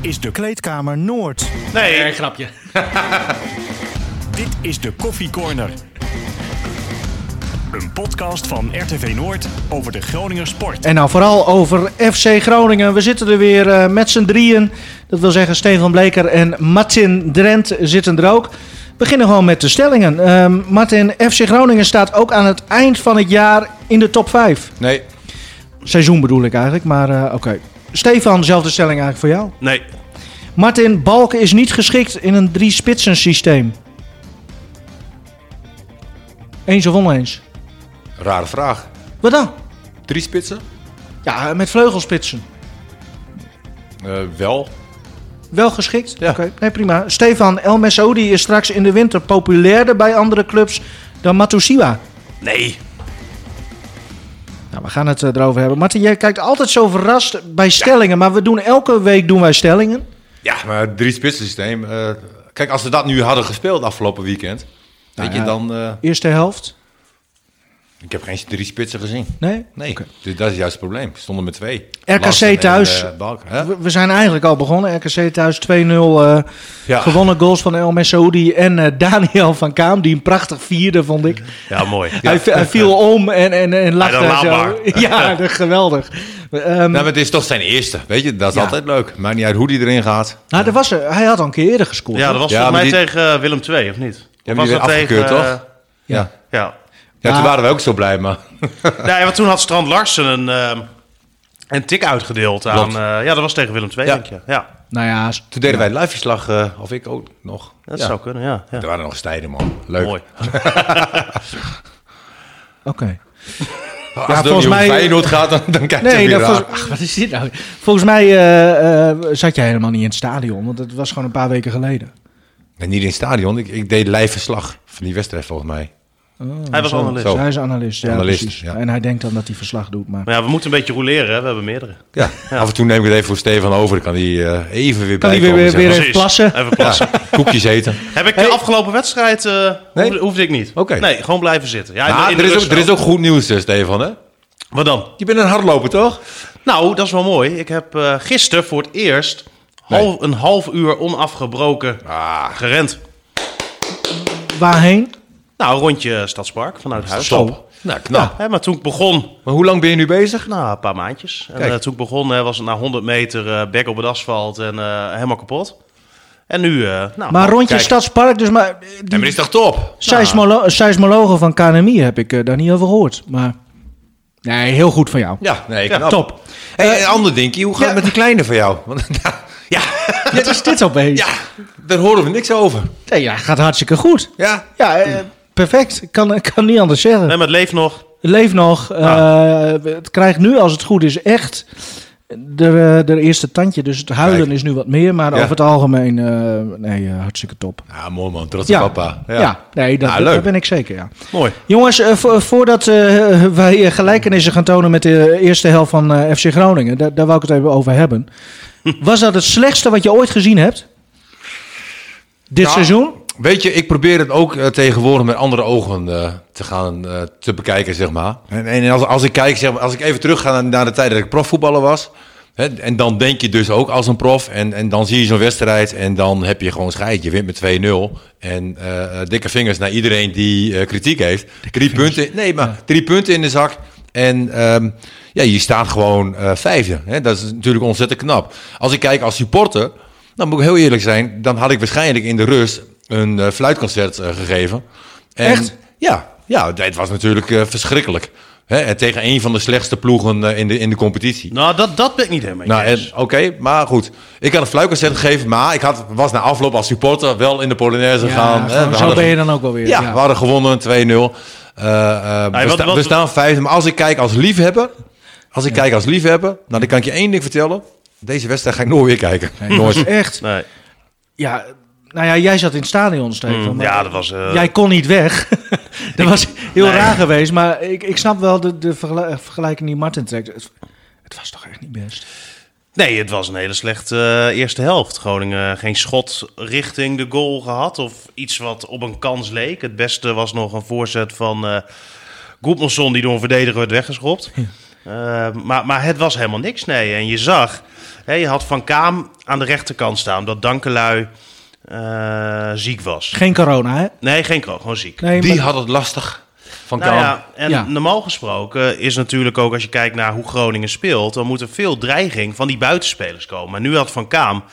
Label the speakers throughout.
Speaker 1: is de Kleedkamer Noord.
Speaker 2: Nee, een grapje.
Speaker 1: Dit is de Koffie Corner. Een podcast van RTV Noord over de Groninger sport.
Speaker 3: En nou vooral over FC Groningen. We zitten er weer eh, met z'n drieën. Dat wil zeggen Stefan Bleker en Martin Drent zitten er ook. We beginnen gewoon met de stellingen. Ehm, Martin, FC Groningen staat ook aan het eind van het jaar in de top 5.
Speaker 4: Nee.
Speaker 3: Seizoen bedoel ik eigenlijk, maar eh, oké. Stefan, zelfde stelling eigenlijk voor jou.
Speaker 2: Nee.
Speaker 3: Martin, Balken is niet geschikt in een drie-spitsen systeem. Eens of oneens?
Speaker 4: Rare vraag.
Speaker 3: Wat dan?
Speaker 4: Drie spitsen?
Speaker 3: Ja, met vleugelspitsen.
Speaker 4: Eh, wel.
Speaker 3: Wel geschikt?
Speaker 4: Ja.
Speaker 3: Oké, nee, prima. Stefan, El Mesoudi is straks in de winter populairder bij andere clubs dan Matusiwa.
Speaker 2: Nee.
Speaker 3: Nou, we gaan het eh, erover hebben. Martin, jij kijkt altijd zo verrast bij stellingen, maar we doen elke week doen wij stellingen.
Speaker 4: Ja, maar drie spitsen systeem. eh, kijk, als we dat nu hadden gespeeld afgelopen weekend. weet
Speaker 3: Nou ja.
Speaker 4: je, dan... eh,
Speaker 3: Eerste helft?
Speaker 4: ik heb geen drie spitsen gezien.
Speaker 3: Nee?
Speaker 4: Nee, dus dat is juist het probleem. Ze stonden met twee.
Speaker 3: RKC
Speaker 4: Larsen en,
Speaker 3: thuis.
Speaker 4: eh, Balken. Hè?
Speaker 3: We, we zijn eigenlijk al begonnen. RKC thuis 2-0. eh,
Speaker 4: Ja.
Speaker 3: Gewonnen goals van El Mesoudi en eh, Daniel van Kaam, die een prachtig vierde, vond ik.
Speaker 2: Ja, mooi.
Speaker 3: Hij, vi- hij viel om en, en, en lachte
Speaker 2: laat
Speaker 3: zo.
Speaker 2: maar.
Speaker 3: Ja, dat- geweldig. Ehm,
Speaker 4: Nou, maar het is toch zijn eerste. Weet je, dat is
Speaker 3: Ja.
Speaker 4: altijd leuk. Maakt niet uit hoe die erin gaat.
Speaker 3: nou, dat was, er. hij had al een keer eerder gescoord.
Speaker 2: Ja, dat was
Speaker 4: Ja,
Speaker 2: volgens mij
Speaker 4: maar die-
Speaker 2: tegen eh, Willem II, of niet?
Speaker 4: Ja,
Speaker 2: Of
Speaker 4: maar
Speaker 2: was
Speaker 4: die
Speaker 2: dat
Speaker 4: werd afgekeurd,
Speaker 2: tegen, eh,
Speaker 4: toch? Ja.
Speaker 2: ja.
Speaker 4: ja,
Speaker 3: Maar-
Speaker 4: toen waren we ook zo blij, maar...
Speaker 2: Nee, want toen had Strand Larsen een, ehm, een tik uitgedeeld aan...
Speaker 4: Klopt.
Speaker 2: eh, ja, dat was tegen Willem II,
Speaker 4: Ja.
Speaker 2: denk je. Ja,
Speaker 3: Nou ja, s-
Speaker 4: Toen deden wij het liveverslag, eh, of ik ook nog.
Speaker 2: dat
Speaker 4: ja.
Speaker 2: zou kunnen, ja. ja.
Speaker 4: Er waren nog stijden, man. Leuk.
Speaker 2: Mooi.
Speaker 3: oké.
Speaker 4: Als
Speaker 3: Ja, volgens
Speaker 4: het volgens mij...
Speaker 3: mij-
Speaker 4: Feyenoord gaat, dan, dan kijkt
Speaker 3: Nee,
Speaker 4: hij
Speaker 3: dat
Speaker 4: weer
Speaker 3: volgens-
Speaker 4: raar.
Speaker 3: Ach, wat is dit nou? Volgens mij eh, eh, zat jij helemaal niet in het stadion, want dat was gewoon een paar weken geleden.
Speaker 4: Nee, niet in het stadion. Ik, ik deed liveverslag van die wedstrijd, volgens mij.
Speaker 2: Hij was analist.
Speaker 4: Zo.
Speaker 3: Dus hij is analist, ja,
Speaker 4: Analist,
Speaker 3: precies.
Speaker 4: ja.
Speaker 3: En hij denkt dan dat hij verslag doet, maar...
Speaker 2: Maar ja, we moeten een beetje roleren, hè. We hebben meerdere.
Speaker 4: Ja. Af en toe neem ik het even voor Stefan over. Dan kan hij eh, even weer
Speaker 3: Kan
Speaker 4: bij
Speaker 3: hij weer-
Speaker 4: komen,
Speaker 3: weer-
Speaker 4: zeg
Speaker 3: Even plassen.
Speaker 2: Even
Speaker 4: maar.
Speaker 2: plassen.
Speaker 4: Ja, koekjes eten.
Speaker 2: Heb ik de afgelopen wedstrijd... eh, hoefde, hoefde ik niet.
Speaker 4: Oké.
Speaker 2: Nee, gewoon blijven zitten. Ja, in de-
Speaker 4: Maar
Speaker 2: in
Speaker 4: er
Speaker 2: de
Speaker 4: is, ook,
Speaker 2: rust
Speaker 4: er is ook goed nieuws, eh, Stefan. Hè?
Speaker 2: Wat dan?
Speaker 4: Je bent een hardloper, toch?
Speaker 2: Nou, dat is wel mooi. Ik heb eh gisteren voor het eerst half, een half uur onafgebroken
Speaker 4: Ah,
Speaker 2: gerend.
Speaker 3: Waarheen?
Speaker 2: Nou, een rondje Stadspark vanuit huis.
Speaker 4: stop. Nou, knap.
Speaker 2: Hè, maar toen ik begon,
Speaker 4: Maar hoe lang ben je nu bezig?
Speaker 2: nou, een paar maandjes. En
Speaker 4: Kijk.
Speaker 2: eh, toen ik begon eh, was het na 100 meter eh bek op het asfalt en eh, helemaal kapot. En nu, eh nou,
Speaker 3: Maar rondje
Speaker 4: kijk.
Speaker 3: Stadspark, dus maar... eh, Die
Speaker 4: Ja, maar is toch top?
Speaker 3: seismolo- seismologen van KNMI heb ik eh, daar niet over gehoord, maar... Nee, heel goed van jou.
Speaker 4: Ja, nee,
Speaker 2: Ja,
Speaker 4: knap.
Speaker 3: Top.
Speaker 4: Hey, een ander dinkie, hoe gaat
Speaker 3: ja.
Speaker 4: het met die kleine van jou? Want, ja,
Speaker 3: Wat is dit opeens?
Speaker 4: ja, daar horen we niks over.
Speaker 3: Nee, ja, gaat hartstikke goed.
Speaker 4: Ja,
Speaker 3: Ja, eh, perfect. Ik kan, ik kan niet anders zeggen.
Speaker 2: nee, maar het leeft nog.
Speaker 3: Leef nog. Eh, het krijgt nu, als het goed is, echt de, eh, de eerste tandje. Dus het huilen
Speaker 4: Kijk.
Speaker 3: is nu wat meer. Maar
Speaker 4: Ja.
Speaker 3: over het algemeen, eh, nee, eh, hartstikke top.
Speaker 4: ja Ah, mooi man, trots
Speaker 3: Ja.
Speaker 4: op papa.
Speaker 3: Ja, nee, dat,
Speaker 4: Ja,
Speaker 3: dat
Speaker 4: leuk.
Speaker 3: ben ik zeker, ja.
Speaker 2: Mooi.
Speaker 3: Jongens, eh, vo- voordat eh, wij eh, gelijkenissen gaan tonen met de eerste helft van eh, FC Groningen... Daar, daar wou ik het even over hebben. Was dat het slechtste wat je ooit gezien hebt? Dit
Speaker 4: Ja.
Speaker 3: seizoen?
Speaker 4: Weet je, ik probeer het ook eh, tegenwoordig met andere ogen eh, te gaan eh, te bekijken, zeg maar. En, en als, als ik kijk, zeg maar, als ik even terug ga naar, naar de tijd dat ik profvoetballer was. Hè, en dan denk je dus ook als een prof. En, en dan zie je zo'n wedstrijd en dan heb je gewoon scheid. Je wint met 2-0. En eh, eh, dikke vingers naar iedereen die eh, kritiek heeft. Drie punten, nee, maar drie punten in de zak. En ehm, ja, je staat gewoon eh, vijfde. Hè? Dat is natuurlijk ontzettend knap. Als ik kijk als supporter, nou, moet ik heel eerlijk zijn, dan had ik waarschijnlijk in de rust een eh, fluitconcert eh, gegeven. En,
Speaker 3: Echt?
Speaker 4: Ja, ja, het was natuurlijk eh, verschrikkelijk. Hè, en tegen een van de slechtste ploegen eh, in, de, in de competitie.
Speaker 2: Nou, dat, dat ben ik niet helemaal
Speaker 4: Nou,
Speaker 2: eens.
Speaker 4: en- oké, maar goed. Ik had een fluitconcert gegeven, maar ik had, was na afloop als supporter wel in de Polonaise gegaan.
Speaker 3: Ja,
Speaker 4: hè.
Speaker 3: gewoon
Speaker 4: We
Speaker 3: zo
Speaker 4: hadden-
Speaker 3: ben je dan ook wel weer.
Speaker 4: ja, we hadden gewonnen 2-0. Eh, eh, we,
Speaker 2: Nee, wat-
Speaker 4: sta-
Speaker 2: wat-
Speaker 4: we staan vijfde. Maar als ik kijk als liefhebber, als ik kijk als liefhebber, nou, dan kan ik je één ding vertellen. Deze wedstrijd ga ik nooit weer kijken. Nooit.
Speaker 3: Echt.
Speaker 2: Nee.
Speaker 3: Ja, nou ja, jij zat in het stadion, Stefan.
Speaker 2: Mm,
Speaker 3: maar
Speaker 2: ja, dat was... eh,
Speaker 3: Jij kon niet weg. dat was heel
Speaker 2: nee.
Speaker 3: raar geweest. Maar ik, ik snap wel de, de vergel- eh, vergelijking die Martin trekt. Het, het was toch echt niet best?
Speaker 2: Nee, het was een hele slechte eh, eerste helft. Groningen eh, geen schot richting de goal gehad of iets wat op een kans leek. Het beste was nog een voorzet van eh Goedmanson die door een verdediger werd weggeschopt. Eh, maar, maar het was helemaal niks, nee. En je zag, hè, je had Van Kaam aan de rechterkant staan, dat Dankelui eh, ziek was.
Speaker 3: Geen corona, hè?
Speaker 2: Nee, geen kroon, gewoon ziek.
Speaker 3: Nee,
Speaker 4: Die
Speaker 3: maar-
Speaker 4: had het lastig. Van
Speaker 2: Nou
Speaker 4: Kaam.
Speaker 2: ja, en
Speaker 3: Ja.
Speaker 2: normaal gesproken is natuurlijk ook als je kijkt naar hoe Groningen speelt, dan moet er veel dreiging van die buitenspelers komen. Maar nu had Van Kaam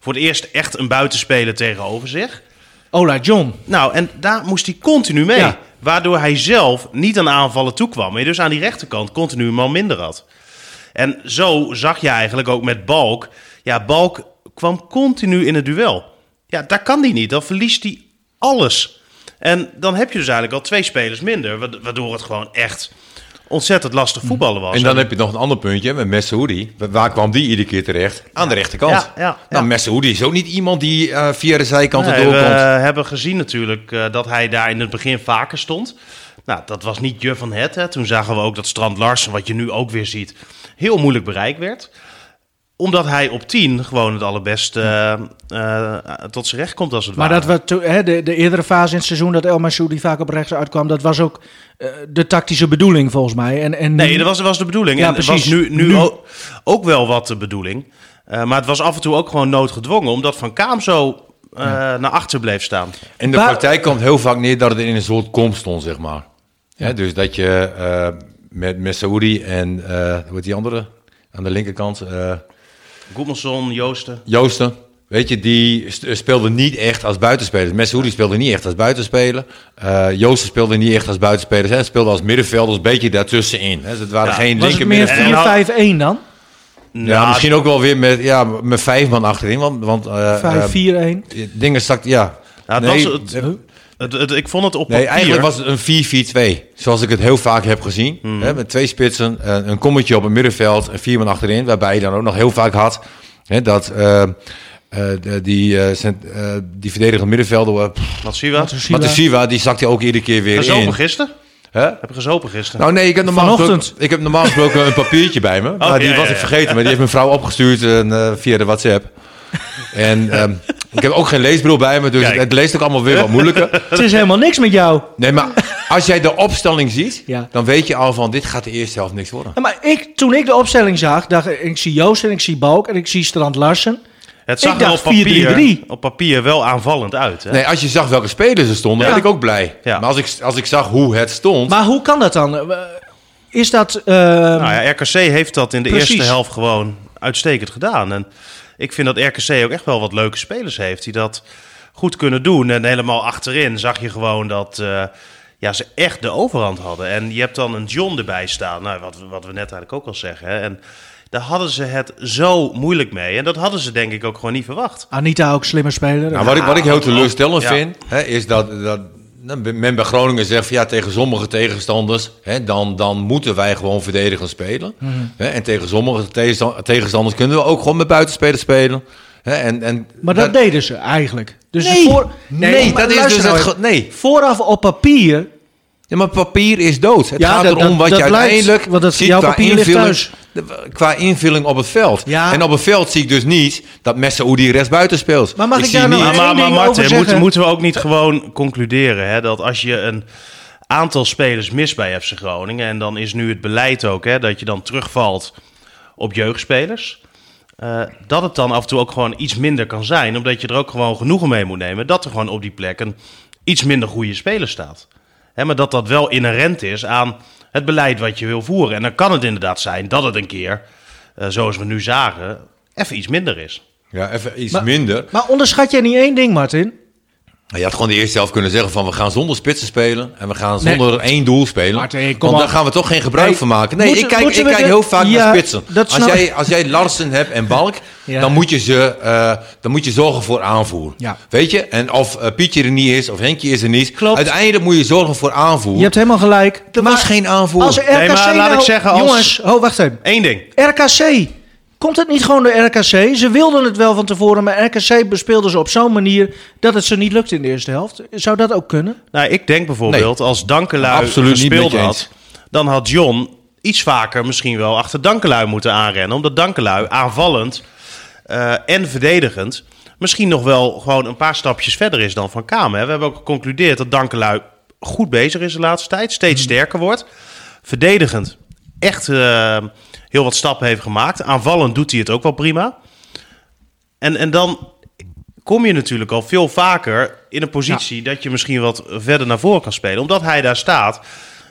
Speaker 2: voor het eerst echt een buitenspeler tegenover zich.
Speaker 3: Ola Oh, John.
Speaker 2: Nou, en daar moest hij continu mee.
Speaker 3: Ja.
Speaker 2: Waardoor hij zelf niet aan aanvallen toekwam. Maar je dus aan die rechterkant continu een man minder had. En zo zag je eigenlijk ook met Balk. Ja, Balk kwam continu in het duel. Ja, daar kan hij niet. Dan verliest hij alles. En dan heb je dus eigenlijk al twee spelers minder. wa- Waardoor het gewoon echt ontzettend lastig voetballen was.
Speaker 4: En dan heb je nog een ander puntje met Messehoedi. Waar kwam die iedere keer terecht? Aan de rechterkant.
Speaker 2: Ja, ja, ja.
Speaker 4: Nou, Messehoedi is ook niet iemand die eh, via de zijkant
Speaker 2: Nee,
Speaker 4: erdoor
Speaker 2: we
Speaker 4: komt.
Speaker 2: hebben gezien natuurlijk eh, dat hij daar in het begin vaker stond. Nou, dat was niet je van het. Hè. Toen zagen we ook dat Strand Larsen, wat je nu ook weer ziet, heel moeilijk bereik werd. Omdat hij op 10 gewoon het allerbest eh, eh, tot zijn recht komt als het
Speaker 3: Maar
Speaker 2: ware.
Speaker 3: dat we to- hè, de, de eerdere fase in het seizoen dat El Massoudi vaak op rechts uitkwam, dat was ook eh, de tactische bedoeling volgens mij. En, en
Speaker 2: Nee, dat was, dat was de bedoeling.
Speaker 3: Ja,
Speaker 2: en het was
Speaker 3: precies.
Speaker 2: nu, nu,
Speaker 3: Nu.
Speaker 2: Ook, ook wel wat de bedoeling. Eh, maar het was af en toe ook gewoon noodgedwongen, omdat Van Kaam zo eh, naar achter bleef staan.
Speaker 4: In de
Speaker 3: Waar-
Speaker 4: praktijk komt heel vaak neer dat het in een soort kom stond, zeg maar. Ja. dus dat je eh, met Messehoedi en, eh, hoe heet die andere? Aan de linkerkant, eh
Speaker 2: Goemelson, Joosten.
Speaker 4: Joosten. Weet je, die st- eh, speelde niet echt als buitenspeler. Messehoedi speelde niet echt als buitenspeler. Eh Joosten speelde niet echt als buitenspeler. Hij speelde als middenvelder, een beetje daartussenin. Hè. Dus het waren
Speaker 2: Ja.
Speaker 4: geen
Speaker 3: was het
Speaker 4: linker
Speaker 3: meer
Speaker 4: middenvelders.
Speaker 3: 4-5-1 dan?
Speaker 4: Ja, misschien ook wel weer met, ja, met vijf man achterin. Want, want eh,
Speaker 3: 5-4-1.
Speaker 4: eh, dingen stak, ja.
Speaker 2: Ja, het
Speaker 4: nee,
Speaker 2: was het-
Speaker 4: eh,
Speaker 2: Het, het- ik vond het op
Speaker 4: nee,
Speaker 2: papier...
Speaker 4: eigenlijk was het een 4-4-2. Zoals ik het heel vaak heb gezien.
Speaker 2: Hmm.
Speaker 4: Hè, met twee spitsen, eh, een kommetje op het middenveld en vier man achterin. Waarbij je dan ook nog heel vaak had hè, dat eh, eh, de- die, eh cent- eh, die verdedigende middenvelder... eh, pff,
Speaker 2: Wat zie je wel?
Speaker 4: Matusiwa, die zakte ook iedere keer weer
Speaker 2: Gezopen
Speaker 4: in.
Speaker 2: gisteren?
Speaker 4: Hè?
Speaker 2: Heb je gezopen gisteren?
Speaker 4: Nou nee, ik heb normaal,
Speaker 3: Vanochtend.
Speaker 4: gesproken, ik heb normaal gesproken een papiertje bij me. maar die
Speaker 2: Oh, ja,
Speaker 4: was
Speaker 2: ja,
Speaker 4: ik
Speaker 2: ja.
Speaker 4: vergeten. Maar die heeft mijn vrouw opgestuurd en, eh, via de WhatsApp. En ehm, ik heb ook geen leesbril bij me. Dus
Speaker 2: Kijk.
Speaker 4: het, het leest ook allemaal weer wat moeilijker.
Speaker 3: Het is helemaal niks met jou.
Speaker 4: Nee, maar als jij de opstelling ziet,
Speaker 3: Ja.
Speaker 4: dan weet je al van dit gaat de eerste helft niks worden.
Speaker 3: Ja, maar ik, toen ik de opstelling zag, dacht ik, ik zie Joost en ik zie Balk en ik zie Strand Larsen.
Speaker 2: het zag
Speaker 3: Nou, ik
Speaker 2: er
Speaker 3: dacht
Speaker 2: op papier,
Speaker 3: 4-3-3.
Speaker 2: op papier wel aanvallend uit. Hè?
Speaker 4: Nee, als je zag welke spelers er stonden,
Speaker 2: Ja.
Speaker 4: werd ik ook blij.
Speaker 2: Ja.
Speaker 4: Maar als ik, als ik zag hoe het stond,
Speaker 3: Maar hoe kan dat dan? Eh, Is dat... eh,
Speaker 2: Nou ja, RKC heeft dat in de
Speaker 3: Precies.
Speaker 2: eerste helft gewoon uitstekend gedaan. En ik vind dat RKC ook echt wel wat leuke spelers heeft die dat goed kunnen doen. En helemaal achterin zag je gewoon dat eh, ja, ze echt de overhand hadden. En je hebt dan een John erbij staan, nou, wat, we- wat we net eigenlijk ook al zeggen. Hè? En daar hadden ze het zo moeilijk mee. En dat hadden ze denk ik ook gewoon niet verwacht.
Speaker 3: Anita ook slimme speler.
Speaker 4: Nou, wat, ik, wat ik heel teleurstellend
Speaker 2: Ja.
Speaker 4: vind, hè, is dat, dat nou, men bij Groningen zegt van ja, tegen sommige tegenstanders, hè, dan, dan moeten wij gewoon verdedigend spelen.
Speaker 3: Mhm.
Speaker 4: Hè, en tegen sommige tegensta- tegenstanders kunnen we ook gewoon met buitenspelers spelen. Hè, en, en,
Speaker 3: maar dat, deden ze eigenlijk. Dus
Speaker 4: Nee,
Speaker 3: voor,
Speaker 4: nee,
Speaker 3: maar
Speaker 4: dat is
Speaker 3: luister
Speaker 4: dus
Speaker 3: nou
Speaker 4: het.
Speaker 3: even.
Speaker 4: ge- Nee,
Speaker 3: Vooraf op papier
Speaker 4: ja, maar papier is dood. Het
Speaker 3: Ja,
Speaker 4: gaat
Speaker 3: dat-
Speaker 4: erom
Speaker 3: dat-
Speaker 4: wat
Speaker 3: dat
Speaker 4: je
Speaker 3: blijkt,
Speaker 4: uiteindelijk
Speaker 3: want dat-
Speaker 4: ziet
Speaker 3: jouw
Speaker 4: qua
Speaker 3: papier ligt
Speaker 4: invulling-
Speaker 3: thuis.
Speaker 4: de- Qua invulling op het veld.
Speaker 3: Ja.
Speaker 4: En op het veld zie ik dus niet dat Messaoudi rechtsbuiten speelt.
Speaker 3: Maar mag ik
Speaker 4: zie
Speaker 3: daar nou
Speaker 4: niet-
Speaker 2: Maar, maar,
Speaker 3: één
Speaker 2: maar
Speaker 3: ding over
Speaker 2: Martin,
Speaker 3: zeggen.
Speaker 2: moeten, moeten we ook niet gewoon concluderen hè, dat als je een aantal spelers mist bij FC Groningen, en dan is nu het beleid ook hè, dat je dan terugvalt op jeugdspelers, eh, dat het dan af en toe ook gewoon iets minder kan zijn, omdat je er ook gewoon genoegen mee moet nemen dat er gewoon op die plek een iets minder goede speler staat. Hè, maar dat dat wel inherent is aan het beleid wat je wil voeren. En dan kan het inderdaad zijn dat het een keer, eh, zoals we nu zagen, even iets minder is.
Speaker 4: Ja, even iets
Speaker 3: Maar-
Speaker 4: minder.
Speaker 3: Maar onderschat jij niet één ding, Martin?
Speaker 4: Nou, Je had gewoon de eerste helft kunnen zeggen van we gaan zonder spitsen spelen en we gaan zonder één doel spelen.
Speaker 3: Martin, kom
Speaker 4: want daar
Speaker 3: op.
Speaker 4: gaan we toch geen gebruik
Speaker 3: Nee,
Speaker 4: van maken. Nee,
Speaker 3: moeten-
Speaker 4: ik kijk,
Speaker 3: moeten
Speaker 4: ik
Speaker 3: we
Speaker 4: kijk
Speaker 3: de-
Speaker 4: heel vaak
Speaker 3: Ja,
Speaker 4: naar spitsen.
Speaker 3: dat
Speaker 4: Als
Speaker 3: snap
Speaker 4: jij,
Speaker 3: ik.
Speaker 4: als jij Larsen hebt en Balk,
Speaker 3: Ja.
Speaker 4: dan, moet je ze, eh, dan moet je zorgen voor aanvoer.
Speaker 3: Ja.
Speaker 4: Weet je? En of eh, Pietje er niet is of Henkje is er niet.
Speaker 3: Klopt.
Speaker 4: Uiteindelijk moet je zorgen voor aanvoer.
Speaker 3: Je hebt helemaal gelijk.
Speaker 4: Er was geen aanvoer.
Speaker 3: Als RKC
Speaker 2: Nee, maar laat
Speaker 3: nou-
Speaker 2: ik zeggen, als-
Speaker 3: Jongens, oh, wacht even.
Speaker 2: Eén ding.
Speaker 3: RKC. Komt het niet gewoon door RKC? Ze wilden het wel van tevoren, maar RKC bespeelde ze op zo'n manier dat het ze niet lukte in de eerste helft. Zou dat ook kunnen?
Speaker 2: Nou, ik denk bijvoorbeeld als Dankelui
Speaker 4: Absoluut niet
Speaker 2: gespeeld
Speaker 4: met je
Speaker 2: had,
Speaker 4: eens.
Speaker 2: dan had John iets vaker misschien wel achter Dankelui moeten aanrennen. Omdat Dankelui aanvallend eh, en verdedigend misschien nog wel gewoon een paar stapjes verder is dan Van Kamer. hè. We hebben ook
Speaker 4: Mhm.
Speaker 2: geconcludeerd dat Dankelui goed bezig is de laatste tijd, steeds sterker wordt. Verdedigend echt eh, heel wat stappen heeft gemaakt. Aanvallend doet hij het ook wel prima. En, en dan kom je natuurlijk al veel vaker in een positie dat je misschien wat verder naar voren kan spelen. Omdat hij daar staat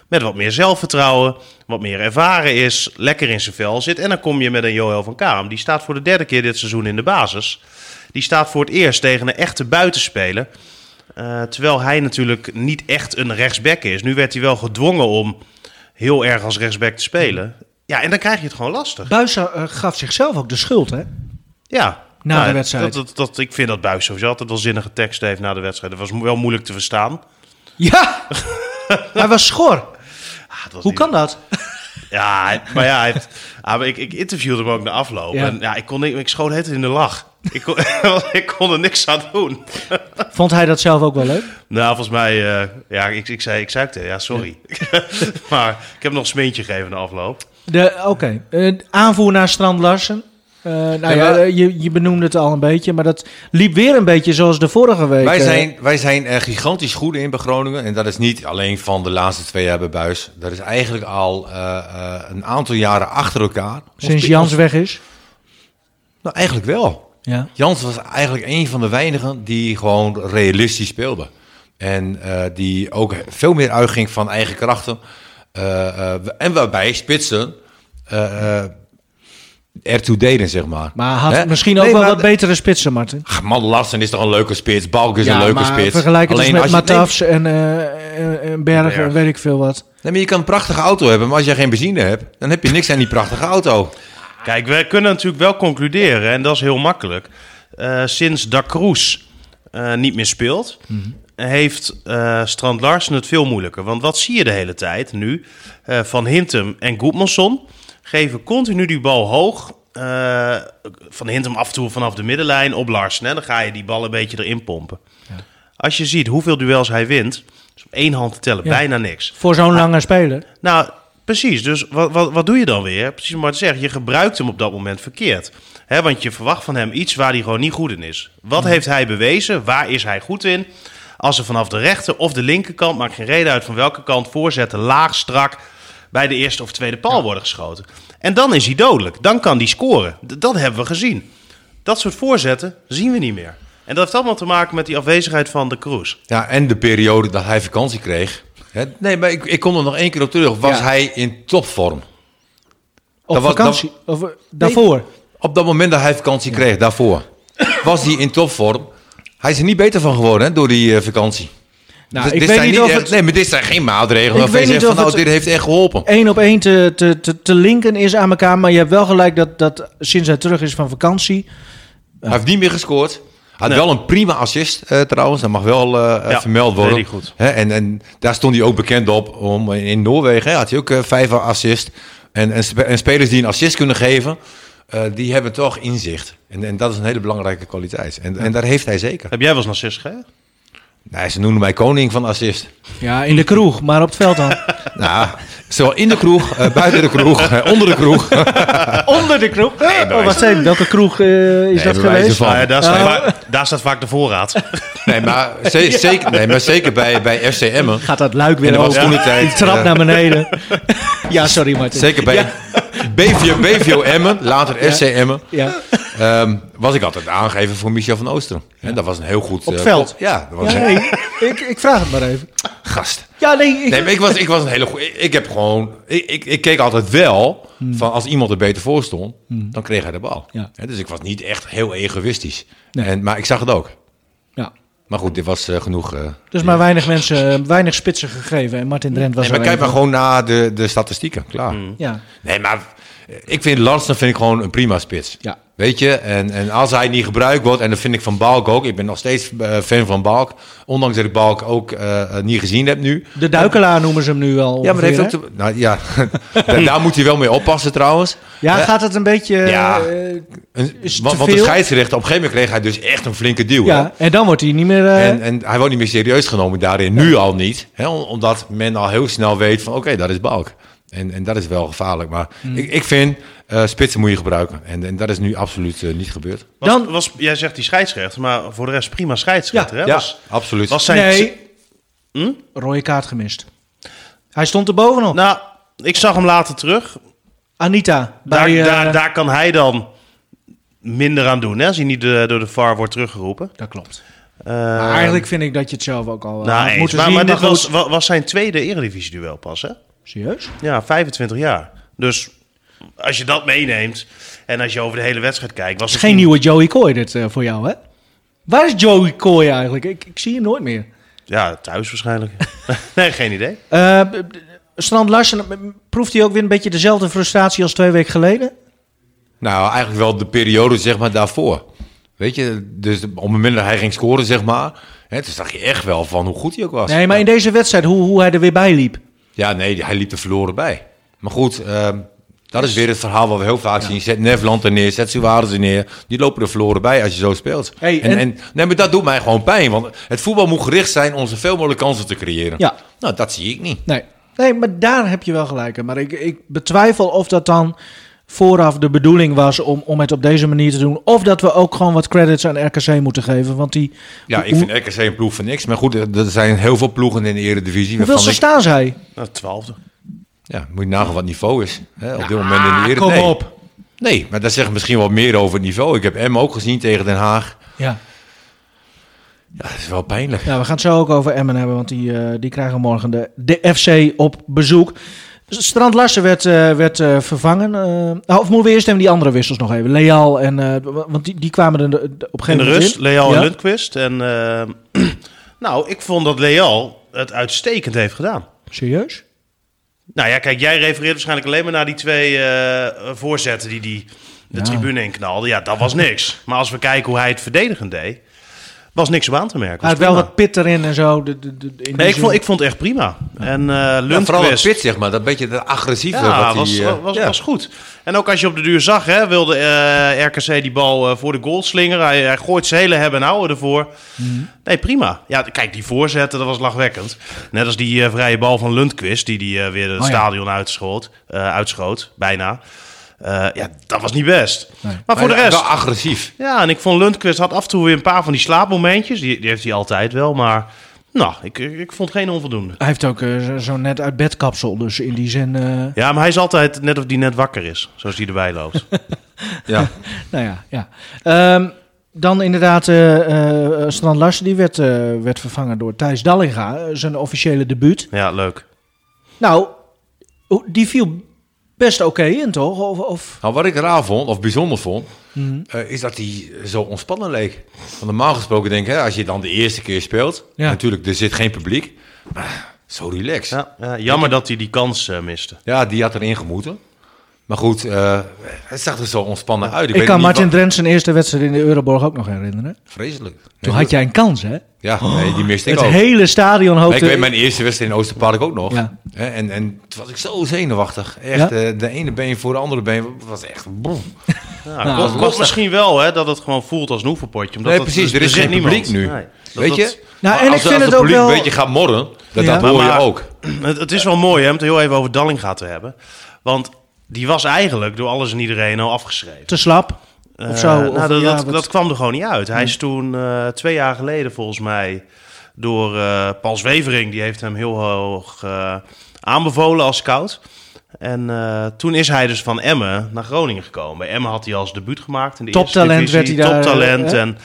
Speaker 2: met wat meer zelfvertrouwen, wat meer ervaren is, lekker in zijn vel zit. En dan kom je met een Joël van Kaam. Die staat voor de derde keer dit seizoen in de basis. Die staat voor het eerst tegen een echte buitenspeler. Eh, terwijl hij natuurlijk niet echt een rechtsback is. Nu werd hij wel gedwongen om heel erg als rechtsback te spelen. Ja, en dan krijg je het gewoon lastig.
Speaker 3: Buijsa eh, gaf zichzelf ook de schuld, hè?
Speaker 2: Ja. Nou,
Speaker 3: Na de wedstrijd.
Speaker 2: Dat, dat, dat- ik vind dat Buis sowieso altijd wel zinnige tekst heeft na de wedstrijd. Dat was mo- wel moeilijk te verstaan.
Speaker 3: Ja! Hij was schor.
Speaker 2: Ah, dat was
Speaker 3: Hoe
Speaker 2: niet-
Speaker 3: kan dat?
Speaker 2: Ja, hij- maar ja, hij heeft- ah, maar ik, ik interviewde hem ook na afloop.
Speaker 3: Ja.
Speaker 2: En ja, ik, kon, niet- ik schoot het in de lach. Ik kon, ik kon er niks aan doen.
Speaker 3: Vond hij dat zelf ook wel leuk?
Speaker 2: Nou, volgens mij, eh, ja, ik, ik zei, ik zei het, ja, sorry. maar ik heb nog een smintje gegeven na afloop.
Speaker 3: De- Oké, Eh, aanvoer naar Strand Larsen. Eh, nou ja,
Speaker 4: maar-
Speaker 3: eh, je, je benoemde het al een beetje, maar dat liep weer een beetje zoals de vorige week.
Speaker 4: Wij
Speaker 3: eh.
Speaker 4: zijn, wij zijn er gigantisch goed in bij Groningen. En dat is niet alleen van de laatste twee jaar bij Buis. Dat is eigenlijk al eh, eh, een aantal jaren achter elkaar.
Speaker 3: Sinds Jans weg is.
Speaker 4: Nou, eigenlijk wel.
Speaker 3: Ja.
Speaker 4: Jans was eigenlijk een van de weinigen die gewoon realistisch speelde. En eh, die ook veel meer uitging van eigen krachten. Eh, eh, en waarbij spitsen eh eh, ertoe deden, zeg maar.
Speaker 3: Maar had
Speaker 4: Hè?
Speaker 3: misschien ook
Speaker 4: Nee,
Speaker 3: wel
Speaker 4: maar-
Speaker 3: wat betere spitsen, Martin.
Speaker 4: Ach, Man, Larsen is toch een leuke spits. Balk is
Speaker 3: Ja,
Speaker 4: een leuke
Speaker 3: maar
Speaker 4: spits.
Speaker 3: Vergelijk het
Speaker 4: Alleen
Speaker 3: eens met
Speaker 4: als je- nee,
Speaker 3: Matafs en, eh, en- en Bergen,
Speaker 2: Bergen.
Speaker 3: weet ik veel wat.
Speaker 4: Nee, maar je kan een prachtige auto hebben, maar als jij geen benzine hebt, dan heb je niks aan die prachtige auto.
Speaker 2: Kijk, we kunnen natuurlijk wel concluderen, en dat is heel makkelijk. eh, sinds Da Cruz eh, niet meer speelt, heeft eh, Strand Larsen het veel moeilijker. Want wat zie je de hele tijd nu? Eh, Van Hintem en Goedmanson geven continu die bal hoog. eh, van Hintem af en toe vanaf de middenlijn op Larsen. Hè? Dan ga je die bal een beetje erin pompen. Als je ziet hoeveel duels hij wint, is op één hand te tellen,
Speaker 3: Ja.
Speaker 2: bijna niks.
Speaker 3: Voor
Speaker 4: Ah.
Speaker 3: zo'n lange speler.
Speaker 2: Nou, precies. Dus wat, wat, wat doe je dan weer? Precies maar te zeggen, je gebruikt hem op dat moment verkeerd. hè? want je verwacht van hem iets waar hij gewoon niet goed in is. Wat heeft hij bewezen? Waar is hij goed in? Als er vanaf de rechter of de linkerkant, maakt geen reden uit van welke kant, voorzetten laag, strak bij de eerste of tweede paal worden geschoten. En dan is hij dodelijk. Dan kan hij scoren. D- dat hebben we gezien. Dat soort voorzetten zien we niet meer. En dat heeft allemaal te maken met die afwezigheid van de Kroes.
Speaker 4: Ja, en de periode dat hij vakantie kreeg. Hè? Nee, maar ik, ik kom er nog één keer op terug. Was
Speaker 3: Ja.
Speaker 4: hij in topvorm?
Speaker 3: Op
Speaker 4: Dat was-
Speaker 3: vakantie. Of, eh, daarvoor.
Speaker 4: Op dat moment dat hij vakantie kreeg, daarvoor, was hij in topvorm. Hij is er niet beter van geworden hè, door die eh, vakantie.
Speaker 3: Nou,
Speaker 4: Dit-
Speaker 3: ik
Speaker 4: dit
Speaker 3: weet
Speaker 4: zijn
Speaker 3: niet of
Speaker 4: echt-
Speaker 3: het
Speaker 4: Nee, maar dit zijn geen maatregelen.
Speaker 3: Ik
Speaker 4: waarvan je
Speaker 3: weet niet
Speaker 4: zegt van,
Speaker 3: of
Speaker 4: nou,
Speaker 3: het-
Speaker 4: dit heeft echt geholpen.
Speaker 3: één op één te, te, te, te linken is aan elkaar. Maar je hebt wel gelijk dat, dat sinds hij terug is van vakantie...
Speaker 4: Hij heeft niet meer gescoord. Had
Speaker 2: Nee.
Speaker 4: wel een prima assist eh, trouwens, dat mag wel eh, eh,
Speaker 2: Ja,
Speaker 4: vermeld worden.
Speaker 2: deed hij goed.
Speaker 4: Hè, en, en daar stond hij ook bekend op. Om, in Noorwegen hè, had hij ook eh, vijf assist. En, en, spe- en spelers die een assist kunnen geven, eh, die hebben toch inzicht. En, en dat is een hele belangrijke kwaliteit. En, en daar heeft hij zeker.
Speaker 2: Heb jij wel eens narcist gegeven?
Speaker 4: Nou, ze noemen mij koning van assist.
Speaker 3: Ja, in de kroeg, maar op het veld dan.
Speaker 4: nou, zowel in de kroeg, eh, buiten de kroeg, eh, onder de kroeg.
Speaker 3: Onder de kroeg? oh, wat zijn welke kroeg eh, is
Speaker 4: Nee,
Speaker 3: dat
Speaker 4: bij wijze
Speaker 3: geweest?
Speaker 4: van.
Speaker 2: Nou ja, daar, staat vaak, daar staat vaak de voorraad.
Speaker 4: Nee, maar, ze- zeker, nee, maar zeker bij, bij FC Emmen.
Speaker 3: Gaat dat luik
Speaker 4: En
Speaker 3: weer
Speaker 4: er was
Speaker 3: open?
Speaker 4: toen de tijd,
Speaker 3: Die trap
Speaker 4: eh,
Speaker 3: naar beneden. ja, sorry Martin.
Speaker 4: Zeker bij BVO, BVO Emmen, later FC Emmen,
Speaker 3: Ja.
Speaker 4: ehm, was ik altijd aangegeven voor Michel van Oosteren. En dat was een heel goed...
Speaker 3: Op
Speaker 4: eh,
Speaker 3: veld?
Speaker 4: kop- Ja, dat was
Speaker 3: Ja,
Speaker 4: een
Speaker 3: nee, ik, ik vraag het maar even.
Speaker 4: gast.
Speaker 3: Ja, nee, ik,
Speaker 4: Nee, maar ik was, ik was een hele goede... Ik, ik heb gewoon... Ik, ik, ik keek altijd wel van als iemand er beter voor stond, dan kreeg hij de bal.
Speaker 3: Ja.
Speaker 4: Hè, Dus ik was niet echt heel egoïstisch.
Speaker 3: Nee.
Speaker 4: En, maar ik zag het ook.
Speaker 3: ja.
Speaker 4: Maar goed, dit was eh, genoeg... eh.
Speaker 3: Dus maar weinig mensen, eh, weinig spitsen gegeven. En Martin Drent was
Speaker 4: nee, maar
Speaker 3: er
Speaker 4: kijk maar
Speaker 3: een
Speaker 4: gewoon naar de, de statistieken. Klaar.
Speaker 3: van. Ja.
Speaker 4: Nee, maar eh, ik vind Larsen vind ik gewoon een prima spits.
Speaker 3: Ja.
Speaker 4: Weet je, en, en als hij niet gebruikt wordt, en dat vind ik van Balk ook. Ik ben nog steeds eh, fan van Balk. Ondanks dat ik Balk ook eh, eh, niet gezien heb nu.
Speaker 3: De duikelaar noemen ze hem nu al.
Speaker 4: Ja, maar dat
Speaker 3: ongeveer,
Speaker 4: heeft ook
Speaker 3: hè?
Speaker 4: te- nou, ja, daar, daar moet hij wel mee oppassen trouwens.
Speaker 3: Ja,
Speaker 4: Eh,
Speaker 3: gaat het een beetje... eh,
Speaker 4: ja.
Speaker 3: eh,
Speaker 4: Een-
Speaker 3: is te
Speaker 4: want, want de
Speaker 3: veel?
Speaker 4: scheidsrechter, op een gegeven moment kreeg hij dus echt een flinke duw. hè?
Speaker 3: ja, en dan wordt hij niet meer... eh,
Speaker 4: En, en hij wordt niet meer serieus genomen daarin, nu al niet. Hè, om- omdat men al heel snel weet van, oké, dat is Balk. En, en dat is wel gevaarlijk. Maar ik, ik vind, eh, spitsen moet je gebruiken. En, en dat is nu absoluut eh, niet gebeurd.
Speaker 2: Was,
Speaker 3: Dan-
Speaker 2: was, jij zegt die scheidsrechter, maar voor de rest prima scheidsrechter. hè?
Speaker 4: Ja,
Speaker 2: Was,
Speaker 4: absoluut.
Speaker 2: was zijn
Speaker 4: Hm?
Speaker 3: nee. Rode kaart gemist. Hij stond er bovenop.
Speaker 2: Nou, Ik zag hem later terug.
Speaker 3: Anita.
Speaker 2: Daar,
Speaker 3: bij, eh,
Speaker 2: daar, daar kan hij dan minder aan doen, hè, als hij niet eh, door de VAR wordt teruggeroepen.
Speaker 3: Dat klopt.
Speaker 2: Eh,
Speaker 3: Maar eigenlijk vind ik dat je het zelf ook al eh,
Speaker 2: nou,
Speaker 3: had
Speaker 2: eens.
Speaker 3: moeten
Speaker 2: maar,
Speaker 3: zien.
Speaker 2: maar dit was,
Speaker 3: goed.
Speaker 2: wa- was zijn tweede eredivisie-duel pas, hè?
Speaker 3: Serieus?
Speaker 2: Ja, 25 jaar. Dus als je dat meeneemt en als je over de hele wedstrijd kijkt... Was
Speaker 3: Het
Speaker 2: het
Speaker 3: is geen nieuwe Joey Coy dit eh, voor jou, hè? Waar is Joey Coy eigenlijk? Ik, ik zie hem nooit meer.
Speaker 2: Ja, thuis waarschijnlijk. nee, geen idee.
Speaker 3: Eh, b- b- Strand Larsen, m- proeft hij ook weer een beetje dezelfde frustratie als twee weken geleden?
Speaker 4: Nou, eigenlijk wel de periode zeg maar daarvoor. Weet je, dus op het moment dat hij ging scoren zeg maar, hè, toen zag je echt wel van hoe goed hij ook was.
Speaker 3: Nee, maar in deze wedstrijd, hoe, hoe hij er weer bij liep.
Speaker 4: Ja, nee, hij liep er verloren bij. Maar goed, ehm, dat is weer het verhaal wat we heel vaak zien. Zet Nederland er neer, zet Suarez er neer. Die lopen er verloren bij als je zo speelt.
Speaker 3: Hey,
Speaker 4: en,
Speaker 3: en-
Speaker 4: en... nee, maar dat doet mij gewoon pijn. Want het voetbal moet gericht zijn om zoveel mogelijk kansen te creëren.
Speaker 3: Ja.
Speaker 4: Nou, dat zie ik niet.
Speaker 3: Nee. nee, maar daar heb je wel gelijk in. Maar ik, ik betwijfel of dat dan vooraf de bedoeling was om, om het op deze manier te doen. Of dat we ook gewoon wat credits aan RKC moeten geven. Want die,
Speaker 4: Ja,
Speaker 3: hoe-
Speaker 4: ik vind RKC een ploeg van niks. Maar goed, er er zijn heel veel ploegen in de eredivisie.
Speaker 3: hoeveel
Speaker 4: waarvan
Speaker 3: ze
Speaker 4: ik-
Speaker 3: staan zij?
Speaker 2: Nou, twaalfde.
Speaker 4: Ja, moet je nagaan wat niveau is. Hè, op dit moment in de
Speaker 3: Ah,
Speaker 4: eredivisie.
Speaker 3: kom
Speaker 4: nee.
Speaker 3: op.
Speaker 4: Nee, maar dat zegt misschien wat meer over het niveau. Ik heb M ook gezien tegen Den Haag.
Speaker 3: Ja.
Speaker 4: Ja, dat is wel pijnlijk.
Speaker 3: ja, we gaan het zo ook over Emmen hebben, want die, eh, die krijgen morgen de, de FC op bezoek. Strand Larsen werd, eh, werd eh, vervangen. Eh, nou, of moeten we eerst even die andere wissels nog even? Leal en... eh, wa- want die, die kwamen er eh, op een
Speaker 2: In de
Speaker 3: gegeven moment
Speaker 2: rust,
Speaker 3: in.
Speaker 2: Leal
Speaker 3: Ja.
Speaker 2: en Lundqvist. En, eh, nou, ik vond dat Leal het uitstekend heeft gedaan.
Speaker 3: Serieus?
Speaker 2: Nou ja, kijk, jij refereert waarschijnlijk alleen maar naar die twee eh, voorzetten die die de
Speaker 3: Ja.
Speaker 2: tribune in knalde. Ja, dat was niks. Maar als we kijken hoe hij het verdedigend deed, was niks op aan te merken.
Speaker 3: Hij had wel
Speaker 2: Was prima.
Speaker 3: wat pit erin en zo. De, de, de, in die
Speaker 2: Nee, ik
Speaker 3: zin.
Speaker 2: vond, ik vond het echt prima. En eh
Speaker 4: Ja, vooral dat
Speaker 2: Lundqvist...
Speaker 4: pit, zeg maar. Dat beetje dat agressieve.
Speaker 2: Ja,
Speaker 4: wat
Speaker 2: was,
Speaker 4: die, eh,
Speaker 2: was, was,
Speaker 4: ja.
Speaker 2: goed. En ook als je op de duur zag, hè, wilde eh, RKC die bal eh, voor de goal slingeren. Hij, hij gooit zijn hele hebben en houden ervoor. Nee, prima. Ja, kijk, die voorzetten, dat was lachwekkend. Net als die eh, vrije bal van Lundqvist, die die eh, weer het
Speaker 3: ja.
Speaker 2: stadion uitschoot, eh, uitschoot, bijna. Eh, ja, dat was niet best. Maar voor
Speaker 4: Maar
Speaker 2: de rest...
Speaker 4: Wel agressief.
Speaker 2: Ja, en ik vond Lundqvist had af en toe weer een paar van die slaapmomentjes. Die, die heeft hij altijd wel, maar... Nou, ik, ik vond geen onvoldoende.
Speaker 3: Hij heeft ook eh, zo zo'n net uit bed kapsel, dus in die zin... eh,
Speaker 2: Ja, maar hij is altijd net of die net wakker is, zoals die erbij loopt.
Speaker 4: Ja.
Speaker 3: Nou ja, ja. Ehm, dan inderdaad, eh, eh, Strand Larsen die werd, eh, werd vervangen door Thijs Dallinga, eh, zijn officiële debuut.
Speaker 2: Ja, leuk.
Speaker 3: Nou, hoe- die viel best oké in, toch? Of, of...
Speaker 4: Nou, wat ik raar vond, of bijzonder vond, eh, is dat hij zo ontspannen leek. Want normaal gesproken denk ik, hè, als je dan de eerste keer speelt,
Speaker 3: Ja.
Speaker 4: natuurlijk, er zit geen publiek, maar zo relaxed. Ja,
Speaker 2: Ja, ja, jammer dat hij die kans eh, miste.
Speaker 4: die had erin gemoeten. Maar goed, eh het zag er zo ontspannen uit.
Speaker 3: Ik,
Speaker 4: weet
Speaker 3: kan
Speaker 4: niet
Speaker 3: Martin
Speaker 4: wat-
Speaker 3: Drent zijn eerste wedstrijd in de Euroborg ook nog herinneren.
Speaker 4: Vreselijk.
Speaker 3: Toen
Speaker 4: Nee,
Speaker 3: had jij een kans, hè?
Speaker 4: Ja, nee, die miste ik
Speaker 3: Het
Speaker 4: ook.
Speaker 3: hele stadion
Speaker 4: Maar ik weet
Speaker 3: hoopte...
Speaker 4: mijn eerste wedstrijd in Oosterpark ook nog.
Speaker 3: Ja.
Speaker 4: Hè, En, en toen was ik zo zenuwachtig. Echt,
Speaker 3: Ja?
Speaker 4: eh, de ene been voor de andere been was echt... boem.
Speaker 2: Ja,
Speaker 4: Nou,
Speaker 2: komt- komt
Speaker 4: lastig.
Speaker 2: misschien wel hè, dat het gewoon voelt als een oefenpotje. Omdat
Speaker 4: Nee,
Speaker 2: dat- dus
Speaker 4: precies, er is
Speaker 2: zit
Speaker 4: geen publiek
Speaker 2: niemand.
Speaker 4: nu.
Speaker 2: Nee. Dat-
Speaker 4: Weet je?
Speaker 2: dat-
Speaker 3: Nou,
Speaker 4: Maar
Speaker 3: en
Speaker 4: als,
Speaker 3: ik vind
Speaker 4: als
Speaker 3: het ook
Speaker 4: publiek
Speaker 3: wel-
Speaker 4: een beetje gaat morren, dat,
Speaker 3: Ja.
Speaker 4: dat hoor je
Speaker 2: Maar-
Speaker 4: ook.
Speaker 2: Het, het is wel mooi hè, om het heel even over Dallinga te hebben. Want die was eigenlijk door alles en iedereen al afgeschreven.
Speaker 3: Te slap,
Speaker 2: Eh,
Speaker 3: of zo.
Speaker 2: nou,
Speaker 3: of-
Speaker 2: dat,
Speaker 3: ja,
Speaker 2: dat,
Speaker 3: wat- Hm.
Speaker 2: dat kwam er gewoon niet uit. Hij is toen eh, twee jaar geleden volgens mij door eh Paul Zwevering... die heeft hem heel hoog eh, aanbevolen als scout... En eh, toen is hij dus van Emmen naar Groningen gekomen. Bij Emmen had hij als debuut gemaakt in de
Speaker 3: Toptalent
Speaker 2: eerste divisie.
Speaker 3: werd hij daar, eh,
Speaker 2: Toptalent
Speaker 3: hè?
Speaker 2: en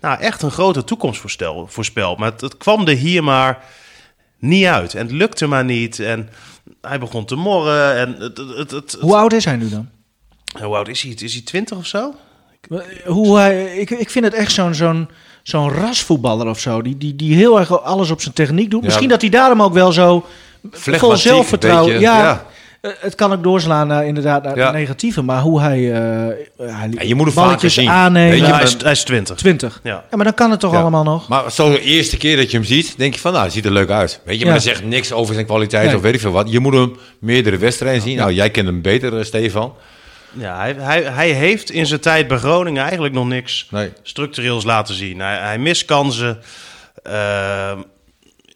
Speaker 2: nou, echt een grote toekomst voorstel- voorspeld. Maar het, het kwam er hier maar niet uit. En het lukte maar niet. En hij begon te morren. En het, het, het, het-
Speaker 3: Hoe oud is hij nu dan?
Speaker 2: hoe oud is hij? Is hij twintig of zo?
Speaker 3: Eh, Hoe hij, ik, ik vind het echt zo'n zo'n zo'n rasvoetballer of zo. Die, die, die heel erg alles op zijn techniek doet.
Speaker 4: Ja.
Speaker 3: Misschien dat hij daarom ook wel zo vol
Speaker 4: Flegmatiek,
Speaker 3: zelfvertrouwen.
Speaker 4: een beetje,
Speaker 3: ja,
Speaker 4: ja.
Speaker 3: eh, Het kan ook doorslaan naar, inderdaad naar
Speaker 4: Ja.
Speaker 3: het negatieve. Maar hoe hij, eh hij
Speaker 4: Ja, je moet
Speaker 3: balletjes
Speaker 4: het vaker zien.
Speaker 3: aannemen.
Speaker 4: Weet je,
Speaker 2: Ja, hij
Speaker 4: maar-
Speaker 2: is, hij is twintig.
Speaker 3: 20. Ja.
Speaker 2: Ja.
Speaker 3: maar dan kan het toch
Speaker 4: Ja.
Speaker 3: allemaal nog?
Speaker 4: Maar zo de eerste keer dat je hem ziet, denk je van, nou, hij ziet er leuk uit. Weet je,
Speaker 3: Ja.
Speaker 4: maar dat zegt niks over zijn kwaliteit
Speaker 3: Nee.
Speaker 4: of weet ik veel wat. Je moet hem meerdere wedstrijden zien. Nou, jij kent hem beter, eh, Stefan.
Speaker 2: Ja, hij, hij, hij heeft in zijn tijd bij Groningen eigenlijk nog niks
Speaker 4: Nee.
Speaker 2: structureels laten zien. Hij, hij mist kansen. Ehm,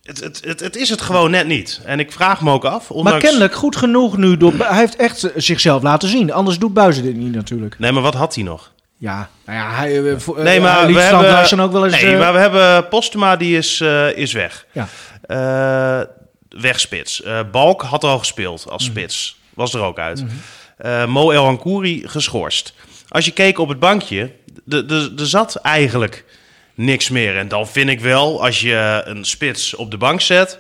Speaker 2: het, het, het, het is het gewoon net niet. En ik vraag me ook af. Ondanks...
Speaker 3: Maar kennelijk goed genoeg nu. Door, hij heeft echt zichzelf laten zien. Anders doet Buizen dit niet natuurlijk.
Speaker 2: Nee, maar wat had hij nog?
Speaker 3: Ja, nou ja hij, eh, voor- eh,
Speaker 2: Nee, maar
Speaker 3: hij liet
Speaker 2: we
Speaker 3: Stan
Speaker 2: hebben.
Speaker 3: Larsen ook wel eens...
Speaker 2: nee,
Speaker 3: eh,
Speaker 2: maar we hebben Postuma die is, eh, is weg.
Speaker 3: ja.
Speaker 2: Eh, wegspits. Eh, Balk had er al gespeeld
Speaker 3: Mhm.
Speaker 2: als spits. Was er ook uit. Eh, Mo El Ankouri geschorst. Als je keek op het bankje, d- d- er zat eigenlijk niks meer. En dan vind ik wel, als je een spits op de bank zet,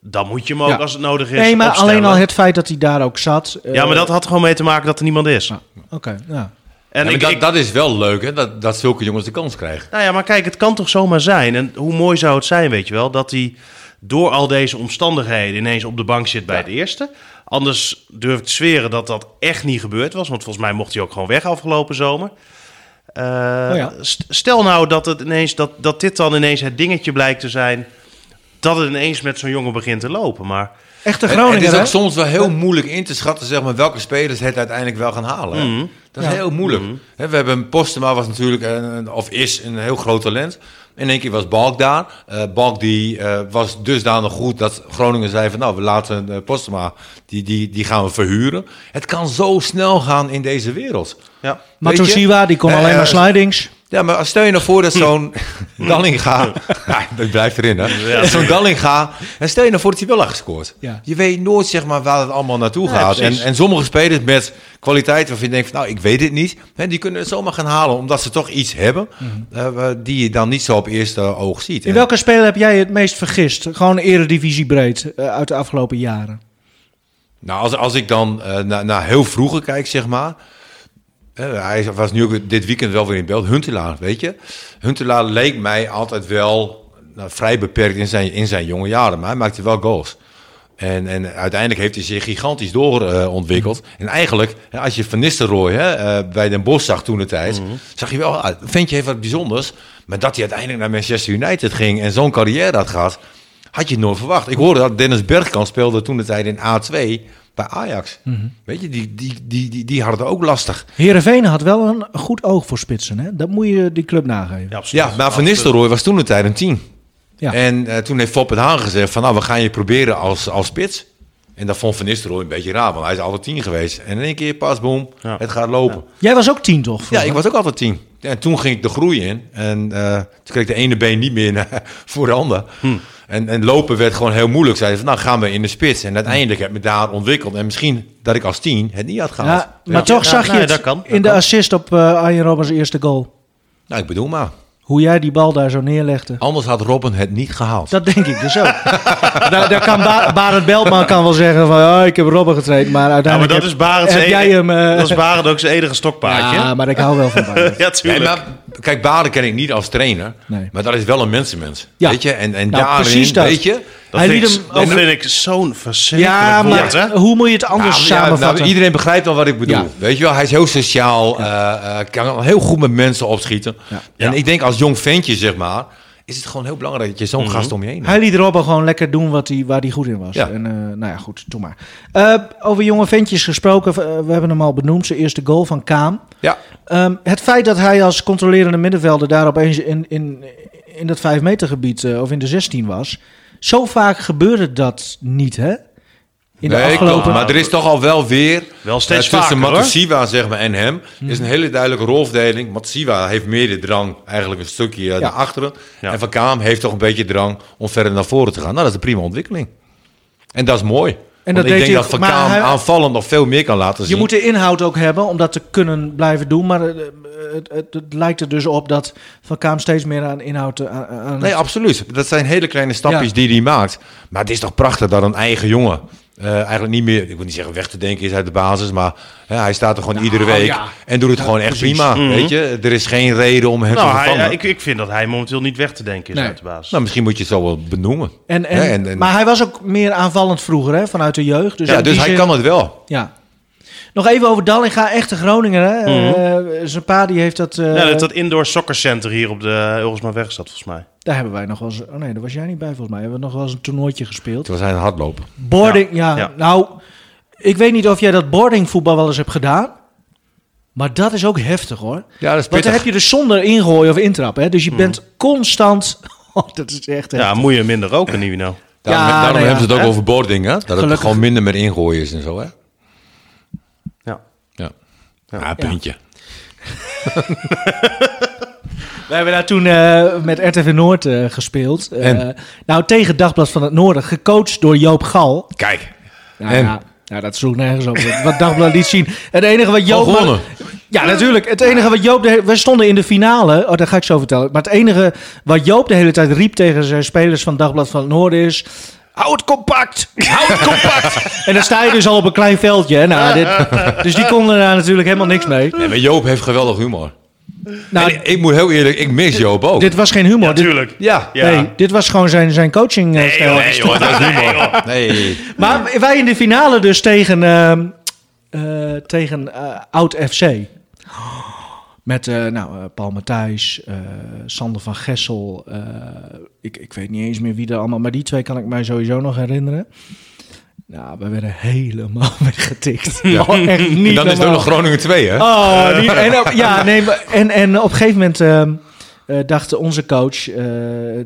Speaker 2: dan moet je hem ook
Speaker 3: Ja.
Speaker 2: als het nodig is
Speaker 3: Nee, maar
Speaker 2: opstellen.
Speaker 3: alleen al het feit dat hij daar ook zat. eh, Ah,
Speaker 2: Ja, maar dat had gewoon mee te maken dat er niemand is.
Speaker 3: Oké, nou. ja.
Speaker 2: En
Speaker 4: Ja, maar
Speaker 2: ik,
Speaker 4: dat,
Speaker 2: ik-
Speaker 4: dat is wel leuk, hè? Dat, dat zulke jongens de kans krijgen.
Speaker 2: Nou ja, maar kijk, het kan toch zomaar zijn. En hoe mooi zou het zijn, weet je wel, dat hij door al deze omstandigheden ineens op de bank zit bij het eerste. Anders durf ik te zweren dat dat echt niet gebeurd was. Want volgens mij mocht hij ook gewoon weg afgelopen zomer. Eh,
Speaker 3: Oh ja.
Speaker 2: st- Stel nou dat, het ineens, dat, dat dit dan ineens het dingetje blijkt te zijn. Dat het ineens met zo'n jongen begint te lopen. Maar
Speaker 3: Echte
Speaker 4: Het, het
Speaker 3: Groninger,
Speaker 4: is
Speaker 3: hè?
Speaker 4: ook soms wel heel moeilijk in te schatten zeg maar, welke spelers het uiteindelijk wel gaan halen. hè. Dat is
Speaker 3: Ja.
Speaker 4: heel moeilijk. Hè, we hebben Postema was natuurlijk, een, of is een heel groot talent. In één keer was Balk daar. Eh, Balk die, eh, was dusdanig goed dat Groningen zei van... nou, we laten eh, Postema, die, die, die gaan we verhuren. Het kan zo snel gaan in deze wereld.
Speaker 2: ja,
Speaker 3: Matosiwa, die kon
Speaker 4: Eh,
Speaker 3: alleen maar
Speaker 4: eh,
Speaker 3: slidings.
Speaker 4: Ja, maar als- stel je nou voor dat zo'n Dallinga... ja, dat blijft erin, hè? zo'n Dallinga... En stel je nou voor dat hij wel had gescoord.
Speaker 3: Ja.
Speaker 4: Je weet nooit, zeg maar, waar het allemaal naartoe
Speaker 2: Nee,
Speaker 4: gaat. En,
Speaker 2: precies.
Speaker 4: en sommige spelers met kwaliteit waarvan je denkt... Van, nou, ik weet het niet. Hè, die kunnen het zomaar gaan halen, omdat ze toch iets hebben... eh, waar- die je dan niet zo op eerste oog ziet.
Speaker 3: Mhm. In
Speaker 4: En-
Speaker 3: welke speler heb jij het meest vergist? Gewoon eredivisiebreed eh, uit de afgelopen jaren.
Speaker 4: Nou, als, als ik dan eh, naar, naar heel vroeger kijk, zeg maar. eh, hij was nu ook dit weekend wel weer in beeld. Huntelaar, weet je. Huntelaar leek mij altijd wel nou, vrij beperkt in zijn, in zijn jonge jaren. Maar hij maakte wel goals. En, en uiteindelijk heeft hij zich gigantisch doorontwikkeld. en eigenlijk, hè, als je Van Nistelrooy hè, eh, bij Den Bosch zag toen de tijd... zag je wel, ah, vind je even wat bijzonders. Maar dat hij uiteindelijk naar Manchester United ging... en zo'n carrière had gehad, had je nooit verwacht. Ik hoorde dat Dennis Bergkamp speelde toen de tijd in A2 bij Ajax. Weet je, die, die, die, die, die hadden het ook lastig.
Speaker 3: Heerenveen had wel een goed oog voor spitsen, hè? Dat moet je die club nageven.
Speaker 2: ja, absoluut.
Speaker 4: Ja, maar Van Nistelrooy was toen de tijd een 10.
Speaker 3: Ja.
Speaker 4: En eh, toen heeft Fop het Haan gezegd van nou, we gaan je proberen als, als spits. En dat vond Van Nistelrooy een beetje raar, want hij is altijd 10 geweest. En in één keer pas, boom,
Speaker 2: Ja.
Speaker 4: het gaat lopen.
Speaker 3: Jij was ook tien, toch?
Speaker 4: Ja,
Speaker 3: vroeger?
Speaker 4: ik was ook altijd tien. En toen ging ik de groei in. En eh, toen kreeg ik de ene been niet meer naar- voor de ander. En, en lopen werd gewoon heel moeilijk. Zeiden van, nou gaan we in de spits. En uiteindelijk heb ik me daar ontwikkeld. En misschien dat ik als tien het niet had gehaald.
Speaker 3: Ja, maar toch
Speaker 2: Ja,
Speaker 3: zag je
Speaker 2: nee,
Speaker 3: het
Speaker 2: dat kan, dat
Speaker 3: in de
Speaker 2: kan.
Speaker 3: assist op eh Arjen Robbers eerste goal.
Speaker 4: Nou, ik bedoel maar.
Speaker 3: Hoe jij die bal daar zo neerlegde.
Speaker 4: Anders had Robin het niet gehaald.
Speaker 3: Dat denk ik dus ook. daar, daar kan Ba- Barend Beltman kan wel zeggen van... Oh, ik heb Robben getraind, maar
Speaker 2: Ja, maar
Speaker 3: uiteindelijk
Speaker 2: dat
Speaker 3: heb,
Speaker 2: is Barend
Speaker 3: heb
Speaker 2: zijn
Speaker 3: jij
Speaker 2: enige-
Speaker 3: hem... eh,
Speaker 2: Dat is Barend ook zijn enige stokpaardje.
Speaker 3: ja,
Speaker 2: Ja,
Speaker 3: maar ik hou wel van Barend.
Speaker 4: Nee,
Speaker 2: tuurlijk.
Speaker 4: maar, kijk, Baden ken ik niet als trainer.
Speaker 3: Nee.
Speaker 4: Maar dat is wel een mensenmens.
Speaker 3: Ja.
Speaker 4: Weet je? En, en
Speaker 3: Nou,
Speaker 4: daarin,
Speaker 3: precies dat.
Speaker 4: weet je...
Speaker 2: dat
Speaker 3: hij
Speaker 2: vind,
Speaker 3: liet
Speaker 2: ik,
Speaker 3: hem
Speaker 2: dat
Speaker 3: ook-
Speaker 2: vind ik zo'n verschrikkelijk
Speaker 3: Ja,
Speaker 2: woord,
Speaker 3: maar
Speaker 2: hè?
Speaker 3: hoe moet je het anders
Speaker 4: Ja, nou,
Speaker 3: samenvatten?
Speaker 4: iedereen begrijpt wel wat ik bedoel.
Speaker 3: Ja.
Speaker 4: Weet je wel, hij is heel sociaal, eh, eh, kan heel goed met mensen opschieten. En
Speaker 2: Ja.
Speaker 4: ik denk als jong ventje, zeg maar, is het gewoon heel belangrijk dat je zo'n gast om je heen hebt.
Speaker 3: Mhm. Hij liet Robben gewoon lekker doen wat hij, waar hij goed in was.
Speaker 4: Ja.
Speaker 3: En eh, nou ja, goed, doe maar. Eh, over jonge ventjes gesproken, eh, we hebben hem al benoemd. Zijn eerste goal van Kaam.
Speaker 4: Ja,
Speaker 3: Ehm, het feit dat hij als controlerende middenvelder daar opeens in, in, in dat 5 meter gebied eh, of in de 16 was. Zo vaak gebeurde dat niet, hè? In de
Speaker 4: Nee,
Speaker 3: afgelopen...
Speaker 4: klopt. Maar er is toch al wel weer...
Speaker 2: Wel steeds
Speaker 4: eh, Tussen
Speaker 2: vaker,
Speaker 4: Matsiwa zeg maar, en hem
Speaker 3: Hmm.
Speaker 4: is een hele duidelijke rolverdeling. Matsiwa heeft meer de drang eigenlijk een stukje eh, naar achteren.
Speaker 2: Ja.
Speaker 4: En Van Kaam heeft toch een beetje drang om verder naar voren te gaan. Nou, dat is een prima ontwikkeling. En dat is mooi. En
Speaker 3: dat
Speaker 4: ik
Speaker 3: deed
Speaker 4: denk
Speaker 3: hij
Speaker 4: dat
Speaker 3: ook,
Speaker 4: Van
Speaker 3: maar
Speaker 4: Kaam
Speaker 3: hij-
Speaker 4: aanvallend nog veel meer kan laten zien.
Speaker 3: Je moet de inhoud ook hebben om dat te kunnen blijven doen. Maar eh, eh, het, het- het lijkt er dus op dat Van Kaam steeds meer aan inhoud... eh, aan, aan-
Speaker 4: Nee, absoluut. Dat zijn hele kleine stapjes
Speaker 3: Ja.
Speaker 4: die hij maakt. Maar het is toch prachtig dat een eigen jongen eh, eigenlijk niet meer, ik wil niet zeggen weg te denken is uit de basis, maar hè, hij staat er gewoon
Speaker 3: Nou,
Speaker 4: iedere week en doet het gewoon echt prima.
Speaker 3: Mhm.
Speaker 4: Weet je, er is geen reden om hem te
Speaker 2: Nou, hij,
Speaker 4: vervangen.
Speaker 2: ja, ik, ik vind dat hij momenteel niet weg te denken is
Speaker 3: Nee.
Speaker 2: uit de basis.
Speaker 4: Nou, misschien moet je het zo wel benoemen.
Speaker 3: En, en,
Speaker 4: Hè, en- en-
Speaker 3: maar hij was ook meer aanvallend vroeger, hè, vanuit de jeugd. Dus
Speaker 4: ja,
Speaker 3: in
Speaker 4: dus
Speaker 3: die
Speaker 4: hij
Speaker 3: zin-
Speaker 4: kan het wel.
Speaker 3: Ja. Nog even over Dallinga, echte Groninger. Hè?
Speaker 4: Mhm.
Speaker 3: Eh, zijn pa die heeft dat, eh,
Speaker 2: ja, dat, dat indoor soccercenter hier op de Ulrichsmaanweg zat, volgens mij.
Speaker 3: Daar hebben wij nog wel eens... Oh nee, daar was jij niet bij volgens mij. Hebben we nog wel eens een toernooitje gespeeld.
Speaker 4: Toen was hij een hardloper.
Speaker 3: Boarding, ja.
Speaker 2: ja.
Speaker 3: Nou, ik weet niet of jij dat boardingvoetbal wel eens hebt gedaan. Maar dat is ook heftig hoor.
Speaker 4: Ja, dat is
Speaker 3: Want dan heb
Speaker 4: pittig. Hmm.
Speaker 3: je dus zonder ingooien of intrap. Hè? Dus je bent constant... Oh, dat is echt heftig.
Speaker 2: Ja, moet je minder roken, Nivino.
Speaker 4: Daarom,
Speaker 3: Ja,
Speaker 4: daarom
Speaker 3: nou ja,
Speaker 4: hebben ze het ook
Speaker 2: hè?
Speaker 4: over boarding, hè? Dat het
Speaker 3: Gelukkig.
Speaker 4: gewoon minder met ingooien is en zo, hè?
Speaker 2: Ja.
Speaker 4: Ah, Ja. Ja, puntje.
Speaker 3: We hebben daar toen eh, met RTV Noord eh, gespeeld. Eh,
Speaker 4: En?
Speaker 3: Nou, tegen Dagblad van het Noorden, gecoacht door Joop Gal.
Speaker 4: Kijk.
Speaker 3: Nou,
Speaker 4: En?
Speaker 3: Ja, ja, dat sloeg nergens op. Wat Dagblad liet zien. Het enige wat
Speaker 4: Al
Speaker 3: Joop...
Speaker 4: gewonnen.
Speaker 3: Ja, natuurlijk. Het enige wat Joop... De, we stonden in de finale. Oh, dat ga ik zo vertellen. Maar het enige wat Joop de hele tijd riep tegen zijn spelers van Dagblad van het Noorden is... Hou het compact! Hou het compact! en dan sta je dus al op een klein veldje. hè. Nou, dit, dus die konden daar natuurlijk helemaal niks mee.
Speaker 4: Nee, maar Joop heeft geweldig humor.
Speaker 3: Nou,
Speaker 4: En ik moet heel eerlijk, ik mis Joop ook.
Speaker 3: dit was geen humor. Dit-
Speaker 2: Natuurlijk.
Speaker 4: Ja.
Speaker 2: Ja.
Speaker 3: Nee, dit was gewoon zijn, zijn coaching. eh, stijl.
Speaker 2: nee, joh, dat is humor.
Speaker 4: Nee.
Speaker 3: Maar wij in de finale dus tegen, ehm, eh, tegen eh, oud FC. Met eh, nou, eh, Paul Matthijs, eh, Sander van Gessel. eh, ik, ik weet niet eens meer wie er allemaal. Maar die twee kan ik mij sowieso nog herinneren. Nou, we werden helemaal weggetikt.
Speaker 4: Ja.
Speaker 3: Oh, echt niet
Speaker 4: En dan is het ook
Speaker 3: normaal.
Speaker 4: nog Groningen 2, hè?
Speaker 3: Oh, die- en, op- ja, nee, maar- en, en op een gegeven moment ehm, eh, dacht onze coach, eh,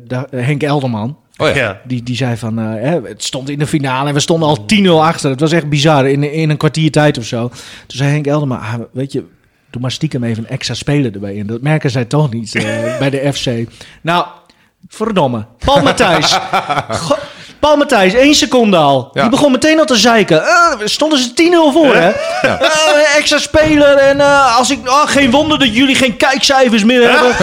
Speaker 3: da- Henk Elderman...
Speaker 4: Oh ja.
Speaker 2: Ja.
Speaker 3: Die, die zei van, eh, hè, het stond in de finale en we stonden al 10-0 achter. Het was echt bizar, in, in een kwartier tijd of zo. Toen zei Henk Elderma, ah, weet je, doe maar stiekem even een extra speler erbij. En dat merken zij toch niet eh, bij de FC. Nou, verdomme. Paul Matthijs. Go- Paul Matthijs, één seconde al.
Speaker 4: Ja.
Speaker 3: Die begon meteen al te zeiken. Eh, stonden ze 10-0 voor, hè? Eh, extra speler en eh, als ik... ah, geen wonder dat jullie geen kijkcijfers meer hebben.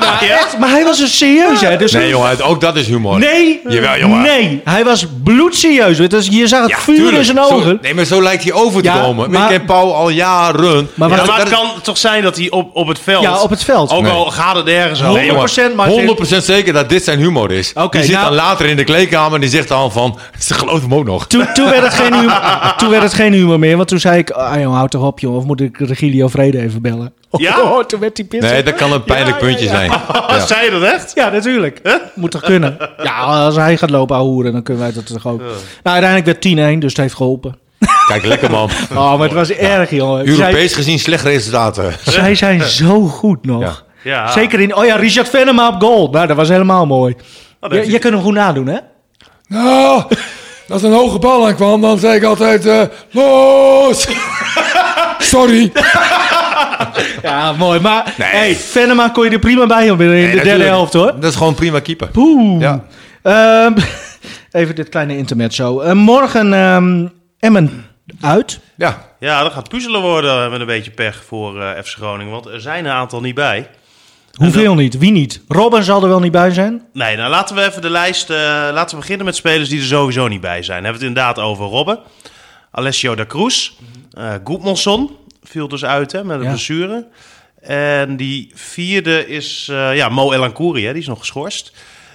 Speaker 3: Nou, echt, maar hij was een serieus, hè? Dus
Speaker 4: Nee, jongen, het- ook dat is humor.
Speaker 3: Nee.
Speaker 4: Oh, Jawel, jongen.
Speaker 3: Nee. Hij was bloedserieus. Het was- je zag het vuur in
Speaker 4: tuurlijk.
Speaker 3: zijn
Speaker 4: Zo-
Speaker 3: ogen.
Speaker 4: nee, maar zo lijkt hij over te
Speaker 3: Ja,
Speaker 4: komen.
Speaker 3: maar-
Speaker 4: ik ken Paul al jaren.
Speaker 3: Maar
Speaker 2: Ja,
Speaker 3: wat-
Speaker 4: dat
Speaker 2: maar het
Speaker 4: is-
Speaker 2: kan toch zijn dat hij op, op het veld...
Speaker 3: Ja, op het veld.
Speaker 2: Ook
Speaker 4: Nee.
Speaker 2: al gaat het ergens over.
Speaker 4: Nee, jongen,
Speaker 3: 100% Martin.
Speaker 4: 100% zeker dat dit zijn humor is.
Speaker 3: Oké,
Speaker 4: die zit
Speaker 3: nou-
Speaker 4: dan later in de kleedkamer en die zegt dan van... Ze geloven hem ook nog.
Speaker 3: Toen, toen, werd het geen humor, toen werd het geen humor meer. Want toen zei ik, ah jongen, houd toch op jongen. Of moet ik Regilio Vrede even bellen?
Speaker 2: Ja?
Speaker 3: Oh, toen werd die pissig.
Speaker 4: Nee, dat kan een pijnlijk
Speaker 3: Ja, ja,
Speaker 4: puntje
Speaker 3: ja.
Speaker 4: zijn. Ja.
Speaker 2: Zei je dat echt?
Speaker 3: Ja, natuurlijk. Moet toch kunnen? Ja, als hij gaat lopen ahoeren, dan kunnen wij dat toch ook. Nou, uiteindelijk werd 10-1, dus het heeft geholpen.
Speaker 4: Kijk, lekker man.
Speaker 3: Oh, maar het was erg, jongen. Zij,
Speaker 4: Europees gezien slecht resultaten.
Speaker 3: zij zijn zo goed nog.
Speaker 2: Ja.
Speaker 3: Zeker in... Oh ja, Richard Venema op goal. Nou, dat was helemaal mooi.
Speaker 4: Oh,
Speaker 2: dat
Speaker 3: Je,
Speaker 2: is-
Speaker 3: je kunt hem goed nadoen, hè?
Speaker 5: Nou, als een hoge bal aankwam, dan zei ik altijd: eh, los! Sorry.
Speaker 3: Ja, mooi. Maar
Speaker 4: Nee.
Speaker 3: hey, Venema kon je er prima bij om binnen in de derde helft, hoor.
Speaker 4: Dat is gewoon prima keeper.
Speaker 3: Poeh.
Speaker 4: Ja.
Speaker 3: Ehm, even dit kleine intermezzo. Eh, morgen ehm, Emmen uit.
Speaker 4: Ja,
Speaker 2: Ja, dat gaat puzzelen worden met een beetje pech voor eh, FC Groningen. Want er zijn een aantal niet bij.
Speaker 3: Hoeveel niet? Wie niet? Robin zal er wel niet bij zijn.
Speaker 2: Nee, nou laten we even de lijst... eh, laten we beginnen met spelers die er sowieso niet bij zijn. Dan hebben we het inderdaad over Robben. Alessio da Cruz. eh Gudmundsson viel dus uit hè, met een
Speaker 3: Ja.
Speaker 2: blessure. En die vierde is eh, ja, Mo Elankouri, hè, die is nog geschorst.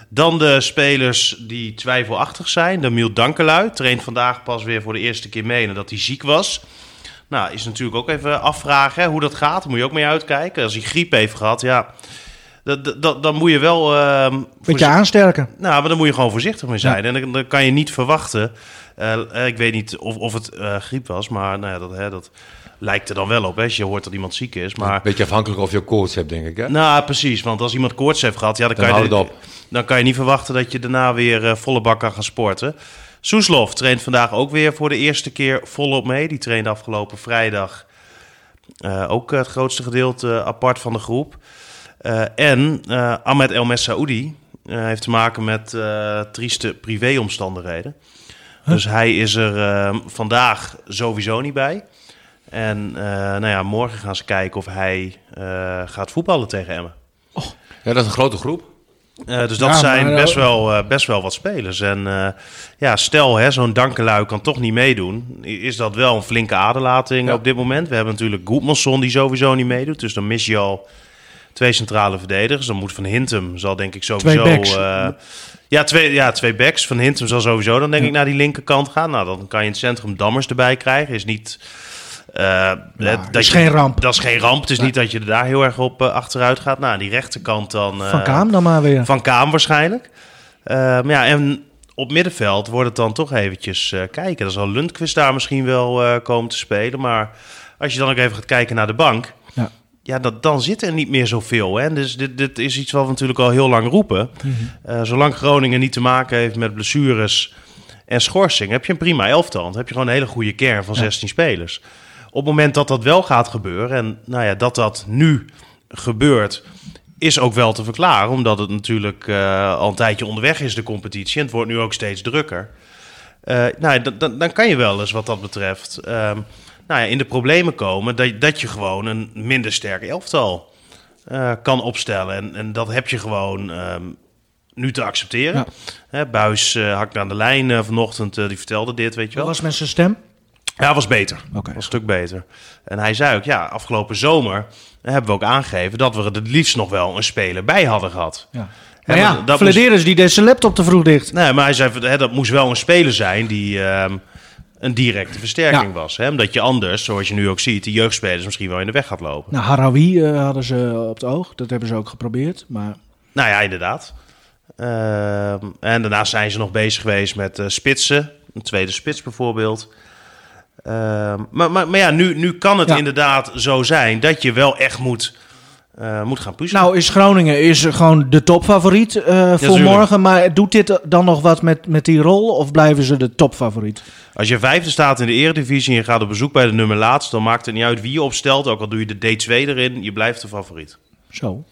Speaker 2: Dan de spelers die twijfelachtig zijn. Damiel Dankelui traint vandaag pas weer voor de eerste keer mee nadat hij ziek was. Nou, is natuurlijk ook even afvragen hè, hoe dat gaat. Daar moet je ook mee uitkijken. Als hij griep heeft gehad, ja, dat, dat- dat, dan moet je wel... ehm,
Speaker 3: Beetje
Speaker 2: voorzi-
Speaker 3: aansterken.
Speaker 2: nou, maar dan moet je gewoon voorzichtig mee zijn. En dan, dan kan je niet verwachten. eh, eh, ik weet niet of, of het eh, griep was, maar nou ja, dat, hè, dat lijkt er dan wel op. Hè, als je hoort dat iemand ziek is. Maar,
Speaker 4: beetje afhankelijk of je ook koorts hebt, denk ik. Hè?
Speaker 2: nou, precies. Want als iemand koorts heeft gehad, ja, dan,
Speaker 4: Dan
Speaker 2: kan, je,
Speaker 4: houdt het op.
Speaker 2: dan kan je niet verwachten dat je daarna weer eh, volle bak kan gaan sporten. Soeslof traint vandaag ook weer voor de eerste keer volop mee. Die trainde afgelopen vrijdag eh, ook het grootste gedeelte apart van de groep. Eh, en eh, Ahmed El Messaoudi eh, heeft te maken met eh, trieste privéomstandigheden. Dus hij is er eh, vandaag sowieso niet bij. En eh, nou ja, morgen gaan ze kijken of hij eh, gaat voetballen tegen Emmen.
Speaker 4: Ja, dat is een grote groep.
Speaker 2: Eh, dus dat
Speaker 3: Ja,
Speaker 2: zijn
Speaker 3: maar, eh,
Speaker 2: best, wel, eh, best wel wat spelers. En eh, ja, stel, hè, zo'n dankelui kan toch niet meedoen. I- Is dat wel een flinke aderlating op dit moment? We hebben natuurlijk Goedmanson die sowieso niet meedoet. Dus dan mis je al twee centrale verdedigers. Dan moet Van Hintem, zal denk ik sowieso...
Speaker 3: Twee backs.
Speaker 2: eh, ja, twee, ja, twee backs. Van Hintem zal sowieso dan denk ik naar die linkerkant gaan. Nou, dan kan je in het centrum Dammers erbij krijgen. Is niet... eh, hè,
Speaker 3: Nou, is
Speaker 2: je-
Speaker 3: geen ramp.
Speaker 2: Dat is geen ramp. Het is niet dat je er daar heel erg op eh, achteruit gaat. Nou, aan die rechterkant dan... eh,
Speaker 3: Van Kaam dan maar weer.
Speaker 2: van Kaam waarschijnlijk. Eh, maar ja, en op middenveld wordt het dan toch eventjes eh, kijken. Dan zal Lundqvist daar misschien wel eh, komen te spelen. Maar als je dan ook even gaat kijken naar de bank...
Speaker 3: Ja.
Speaker 2: Ja, dat, dan zit er niet meer zoveel. Hè? Dus dit, dit is iets wat we natuurlijk al heel lang roepen. Eh, zolang Groningen niet te maken heeft met blessures en schorsing... heb je een prima elftal. Dan heb je gewoon een hele goede kern van 16 spelers. Op het moment dat dat wel gaat gebeuren... en nou ja, dat dat nu gebeurt is ook wel te verklaren, omdat het natuurlijk eh, al een tijdje onderweg is, de competitie. En het wordt nu ook steeds drukker. Eh, nou, ja, dan- dan, dan kan je wel eens wat dat betreft ehm, nou ja, in de problemen komen dat, dat je gewoon een minder sterk elftal eh, kan opstellen. En, en dat heb je gewoon ehm, nu te accepteren. Hè, Buis eh hakte aan de lijn eh, vanochtend, eh, die vertelde dit, weet je
Speaker 3: Wat
Speaker 2: wel.
Speaker 3: was met zijn stem?
Speaker 2: Ja, was beter.
Speaker 3: Oké.
Speaker 2: Was een stuk beter. En hij zei ook, ja, afgelopen zomer eh, hebben we ook aangegeven dat we er het liefst nog wel een speler bij hadden gehad.
Speaker 3: Ja.
Speaker 2: Hè,
Speaker 3: Maar Nou ja,
Speaker 2: want dat moest-
Speaker 3: Flederis die deed zijn laptop te vroeg dicht.
Speaker 2: Nee, maar hij zei, hè, dat moest wel een speler zijn die ehm, een directe versterking
Speaker 3: Ja.
Speaker 2: was. Hè? Omdat je anders, zoals je nu ook ziet, de jeugdspelers misschien wel in de weg gaat lopen.
Speaker 3: Nou, Harawi eh, hadden ze op het oog. Dat hebben ze ook geprobeerd. Maar
Speaker 2: Nou ja, inderdaad. Ehm, en daarnaast zijn ze nog bezig geweest met eh, spitsen. Een tweede spits bijvoorbeeld. Ehm, maar, maar, maar ja, nu, nu kan het
Speaker 3: Ja.
Speaker 2: inderdaad zo zijn dat je wel echt moet, eh, moet gaan puzzelen.
Speaker 3: Nou, is Groningen is gewoon de topfavoriet eh, voor
Speaker 2: tuurlijk.
Speaker 3: morgen. Maar doet dit dan nog wat met, met die rol? Of blijven ze de topfavoriet?
Speaker 2: Als je vijfde staat in de eredivisie en je gaat op bezoek bij de nummer laatst... dan maakt het niet uit wie je opstelt. Ook al doe je de D2 erin, je blijft de favoriet.
Speaker 3: Zo.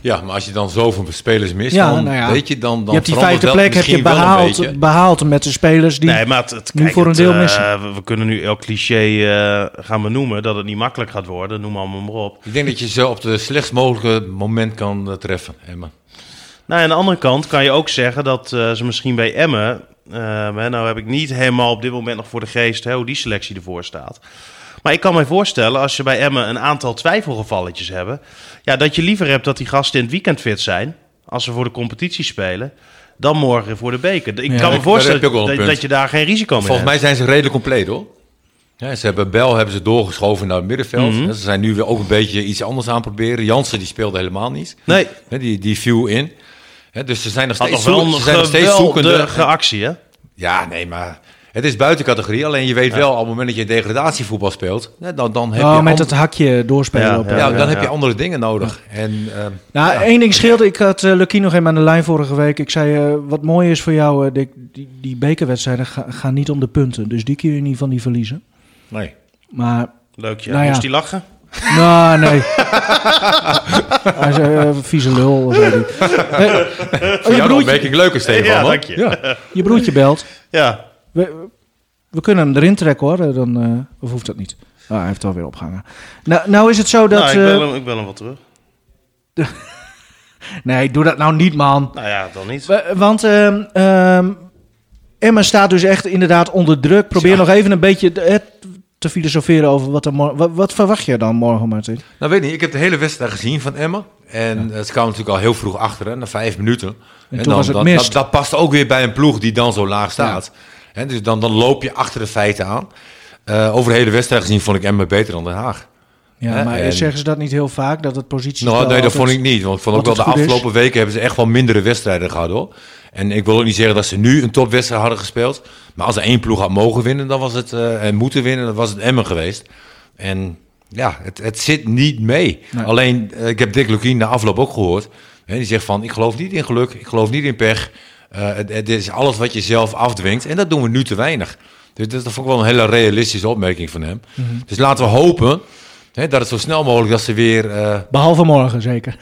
Speaker 4: Ja, maar als je dan zoveel spelers mist,
Speaker 3: Ja,
Speaker 4: dan,
Speaker 3: nou ja.
Speaker 4: weet je, dan, dan
Speaker 3: je hebt die
Speaker 4: verandert
Speaker 3: vijfde
Speaker 4: dat
Speaker 3: plek heb je
Speaker 4: misschien wel een beetje.
Speaker 3: behaald, behaald met de spelers die...
Speaker 2: nee, maar het, het-
Speaker 3: nu
Speaker 2: kijk,
Speaker 3: voor een
Speaker 2: het,
Speaker 3: deel
Speaker 2: eh,
Speaker 3: missen.
Speaker 2: we, we kunnen nu elk cliché eh, gaan benoemen dat het niet makkelijk gaat worden. Noem allemaal maar op.
Speaker 4: Ik denk dat je ze op het slechtst mogelijke moment kan eh, treffen, Emma.
Speaker 2: Nou, aan de andere kant kan je ook zeggen dat eh, ze misschien bij Emmen... ehm, hè, nou heb ik niet helemaal op dit moment nog voor de geest hè, hoe die selectie ervoor staat. Maar ik kan me voorstellen, als je bij Emmen een aantal twijfelgevalletjes hebben... Ja, dat je liever hebt dat die gasten in het weekend fit zijn... als ze voor de competitie spelen, dan morgen voor de beker. Ik kan me
Speaker 4: daar heb
Speaker 2: voorstellen
Speaker 4: je ook wel een
Speaker 2: dat,
Speaker 4: punt.
Speaker 2: dat je daar geen risico mee
Speaker 4: Volgens
Speaker 2: hebt.
Speaker 4: mij zijn ze redelijk compleet, hoor. Ja, ze hebben Bel hebben ze doorgeschoven naar het middenveld.
Speaker 2: Mhm.
Speaker 4: Ja, Ze zijn nu weer ook een beetje iets anders aan het proberen. Jansen die speelde helemaal niet.
Speaker 2: Nee,
Speaker 4: Hè, die, die viel in. Hè, dus ze zijn nog
Speaker 2: had
Speaker 4: steeds,
Speaker 2: nog
Speaker 4: zoek-
Speaker 2: wel een
Speaker 4: ze zijn nog steeds zoekende.
Speaker 2: geweldige actie, hè?
Speaker 4: Ja, nee, maar het is buiten categorie. Alleen je weet wel, op het moment dat je degradatievoetbal speelt, ja, dan, dan heb
Speaker 3: Oh,
Speaker 4: je
Speaker 3: met
Speaker 4: an-
Speaker 3: het hakje doorspelen.
Speaker 2: Ja,
Speaker 3: op,
Speaker 2: ja.
Speaker 3: eh,
Speaker 4: ja, dan heb je
Speaker 2: ja.
Speaker 4: andere dingen nodig. En, ehm,
Speaker 3: Nou, één ding scheelde. Ik had eh Lucky nog even aan de lijn vorige week. Ik zei, eh, wat mooi is voor jou, eh, Dick, die, die bekerwedstrijden ga- gaan niet om de punten. Dus die kun je niet van die verliezen.
Speaker 4: nee.
Speaker 3: Maar,
Speaker 2: Leuk, ja.
Speaker 3: Nou ja.
Speaker 2: Moest die lachen?
Speaker 3: nou, nee. Hij zei, eh, vieze lul, zei hij. Eh, oh, je,
Speaker 4: Ja, dan
Speaker 3: broertje,
Speaker 4: ben ik leuker, Stefan.
Speaker 2: Ja,
Speaker 4: hoor.
Speaker 2: dank je.
Speaker 4: Ja.
Speaker 3: je broertje belt.
Speaker 2: Ja,
Speaker 3: We, we kunnen hem erin trekken, hoor. Eh, Dan, eh, of hoeft dat niet? Ah, hij heeft het alweer opgehangen. Nou, nou is het zo dat...
Speaker 2: nou, ik, bel
Speaker 3: eh,
Speaker 2: hem, ik bel hem wel terug.
Speaker 3: nee, doe dat nou niet, man.
Speaker 2: Nou ja, dan niet.
Speaker 3: W- Want ehm, ehm, Emma staat dus echt inderdaad onder druk. Probeer nog even een beetje eh, te filosoferen over wat er mor- wat, wat verwacht je dan morgen, Martin?
Speaker 4: Nou, weet niet. Ik heb de hele wedstrijd gezien van Emma. En eh, ze kwamen natuurlijk al heel vroeg achter, hè, na vijf minuten. En,
Speaker 3: toen
Speaker 4: dan,
Speaker 3: was het
Speaker 4: dat,
Speaker 3: mist.
Speaker 4: Dat, dat past ook weer bij een ploeg die dan zo laag staat. Hè, dus dan, dan loop je achter de feiten aan. Eh, over de hele wedstrijd gezien vond ik Emma beter dan Den Haag.
Speaker 3: Ja,
Speaker 4: Eh,
Speaker 3: maar
Speaker 4: en-
Speaker 3: zeggen ze dat niet heel vaak, dat het positie
Speaker 4: Nou, nee, dat vond ik niet. Want ik vond ook wel
Speaker 3: altijd goed
Speaker 4: de
Speaker 3: is.
Speaker 4: afgelopen weken hebben ze echt wel mindere wedstrijden gehad hoor. En ik wil ook niet zeggen dat ze nu een topwedstrijd hadden gespeeld. Maar als er één ploeg had mogen winnen, dan was het eh, en moeten winnen, dan was het Emmen geweest. En ja, het, het zit niet mee.
Speaker 3: Nee.
Speaker 4: Alleen, eh, ik heb Dick Lukien na afloop ook gehoord. Hè, die zegt van ik geloof niet in geluk, ik geloof niet in pech. Eh, het, het is alles wat je zelf afdwingt. En dat doen we nu te weinig. Dus dat vond ik wel een hele realistische opmerking van hem.
Speaker 3: Mhm.
Speaker 4: Dus laten we hopen hè, dat het zo snel mogelijk dat ze weer. eh,
Speaker 3: Behalve morgen zeker.